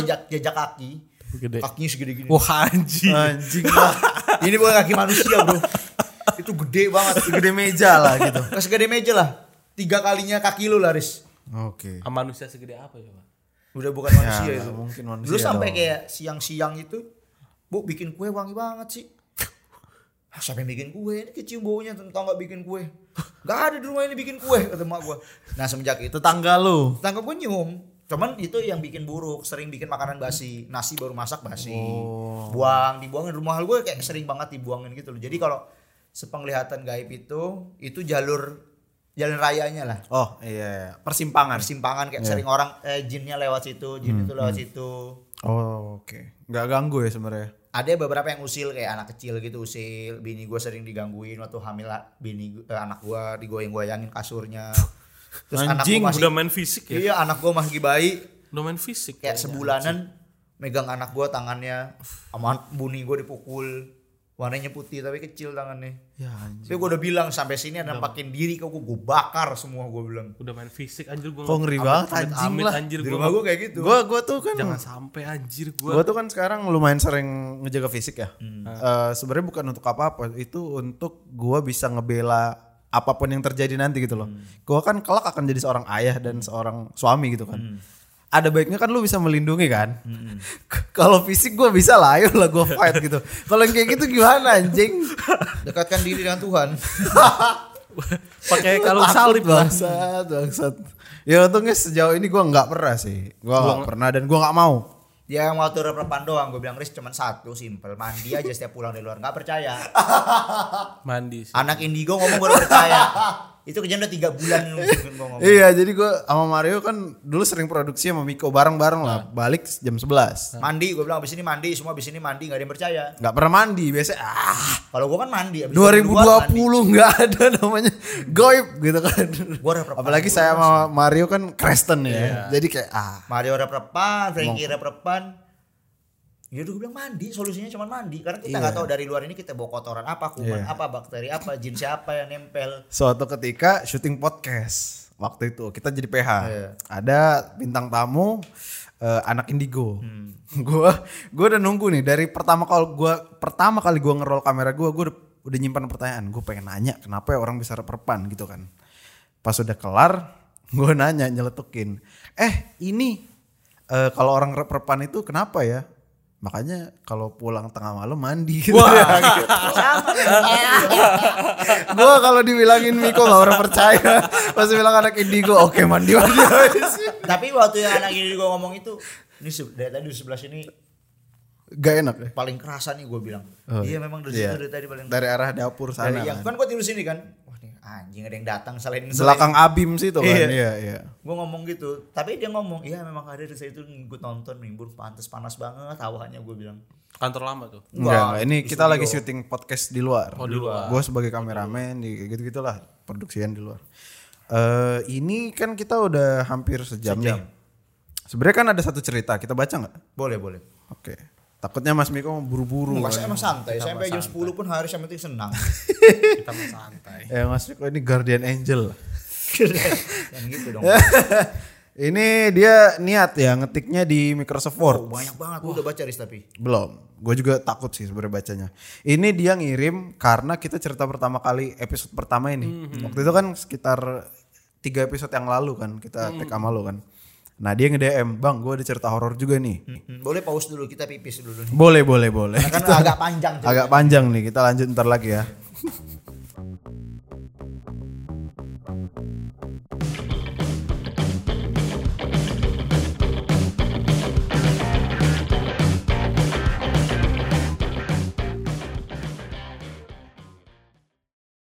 jejak jejak kaki
gede
kakinya segede gini
wah anjing
anjing lah
ini bukan kaki manusia bro itu gede banget
gede meja lah gitu
Kayak segede meja lah tiga kalinya kaki lu laris
oke
Ah, manusia segede apa ya pak
udah bukan
nggak
manusia itu
mungkin manusia
lu sampai
dong.
kayak siang-siang itu bu bikin kue wangi banget sih Ah, siapa yang bikin kue ini kecium baunya tetangga bikin kue gak ada di rumah ini bikin kue kata mak gua nah semenjak itu
tetangga lu
tetangga gue nyium cuman itu yang bikin buruk sering bikin makanan basi nasi baru masak basi buang dibuangin rumah gue kayak sering banget dibuangin gitu loh jadi kalau sepenglihatan gaib itu itu jalur jalan rayanya lah
oh iya persimpangan
persimpangan kayak sering orang eh, jinnya lewat situ jin itu lewat situ
oh oke nggak ganggu ya sebenarnya
ada beberapa yang usil kayak anak kecil gitu usil bini gue sering digangguin waktu hamil ah, bini gu- eh, anak gue digoyang-goyangin kasurnya terus anak gue
Anjing,
masih
udah main fisik ya
iya anak gue masih bayi
udah main fisik
kayak
kayaknya.
sebulanan megang anak gua tangannya sama buni gua dipukul warnanya putih tapi kecil tangannya
ya anjing
tapi gua udah bilang sampai sini ada nampakin diri kok gua, gua bakar semua gua bilang
udah main fisik anjir gue
kok ngeri banget anjing
amit
lah
anjir
di
gue
rumah gua kayak gitu
gua gua tuh kan
jangan sampai anjir gue
Gue tuh kan sekarang lumayan sering ngejaga fisik ya. Eh, Sebenarnya bukan untuk apa-apa, itu untuk gua bisa ngebela apapun yang terjadi nanti gitu loh. Gua kan kelak akan jadi seorang ayah dan seorang suami gitu kan. Ada baiknya kan lu bisa melindungi kan. Kalau fisik gua bisa lah, ayo lah gue fight gitu. Kalau yang kayak gitu gimana anjing?
dekatkan diri dengan Tuhan
pakai kalung
Takut,
salib lah
bangsat, bangsat. Ya untungnya sejauh ini gua nggak pernah sih. Gua nggak pernah dan gua nggak mau.
dia yang waktu repan doang gua bilang Riz cuman satu simple mandi aja setiap pulang dari luar nggak percaya
mandi sih.
anak indigo ngomong gua udah percaya itu kerjaan udah tiga bulan mungkin gua ngomong
Iya, jadi gue sama Mario kan dulu sering produksi sama Miko bareng-bareng lah.
Nah.
Balik jam 11.
mandi gua bilang abis ini mandi semua abis ini mandi nggak ada yang percaya
Nggak pernah mandi, biasanya ah,
kalau gua kan mandi abis itu keluar, mandi.
2020 nggak ada namanya goib gitu kan.
Hmm. Gua udah perpan
Apalagi saya sama Mario
Iya.
kan Creston ya. Jadi kayak ah,
Mario rep repan, Frankie rep repan. ya udah gue bilang mandi solusinya cuma mandi karena kita
Iya.
nggak tahu dari luar ini kita bawa kotoran apa kuman apa bakteri apa jin siapa yang nempel
Suatu ketika syuting podcast waktu itu kita jadi PH.
Iya.
Ada bintang tamu eh, anak indigo. Gua gua udah nunggu nih dari pertama kali gua pertama kali gua ngerol kamera gua gua udah, udah nyimpan pertanyaan. Gue pengen nanya kenapa ya orang bisa reperpan gitu kan. Pas udah kelar gua nanya nyeletukin. Eh, ini eh, kalau orang reperpan itu kenapa ya? Makanya kalau pulang tengah malam mandi gitu.
sama kayak
gua kalau dibilangin Miko gak orang percaya pasti bilang anak indigo oke mandi mandi habis
tapi waktu yang anak ini gue ngomong itu ini se- dari tadi di sebelah sini
gak enak deh
paling kerasa nih gue bilang
Oh,
iya memang dari
iya.
situ dari tadi paling
dari arah dapur sana
dari yang
kan.
kan gue tidur sini kan wah nih anjing ada yang datang selain
belakang abim situ kan iya
Iya.
iya, iya.
gue ngomong gitu tapi dia ngomong iya memang ada di situ gue nonton minggu pantas panas banget hawanya gue bilang
Kantor lama tuh.
Enggak, enggak. ini
di
kita lagi
studio.
syuting podcast di luar.
Oh, di luar.
Gue sebagai kameramen di gitu gitulah produksian di luar. Eh ini kan kita udah hampir sejam, nih. Sebenarnya kan ada satu cerita, kita baca nggak?
boleh boleh
Oke. Takutnya Mas Miko mau buru-buru.
Enggak, saya
kan.
emang santai. Sampai jam 10 pun hari saya penting senang.
Kita mah santai.
Eh Mas Miko ini guardian angel.
Yang gitu dong.
Ini dia niat ya ngetiknya di Microsoft Word.
Banyak banget. Gua udah baca Riz tapi.
Belum. Gue juga takut sih sebenarnya bacanya. Ini dia ngirim karena kita cerita pertama kali episode pertama ini. Waktu itu kan sekitar tiga episode yang lalu kan kita tag sama lo kan. Nah dia nge-DM, Bang gue ada cerita horor juga nih.
Hmm, Boleh pause dulu kita pipis dulu nih.
Boleh, boleh, boleh.
Karena agak panjang.
Agak panjang nih, kita lanjut ntar lagi ya.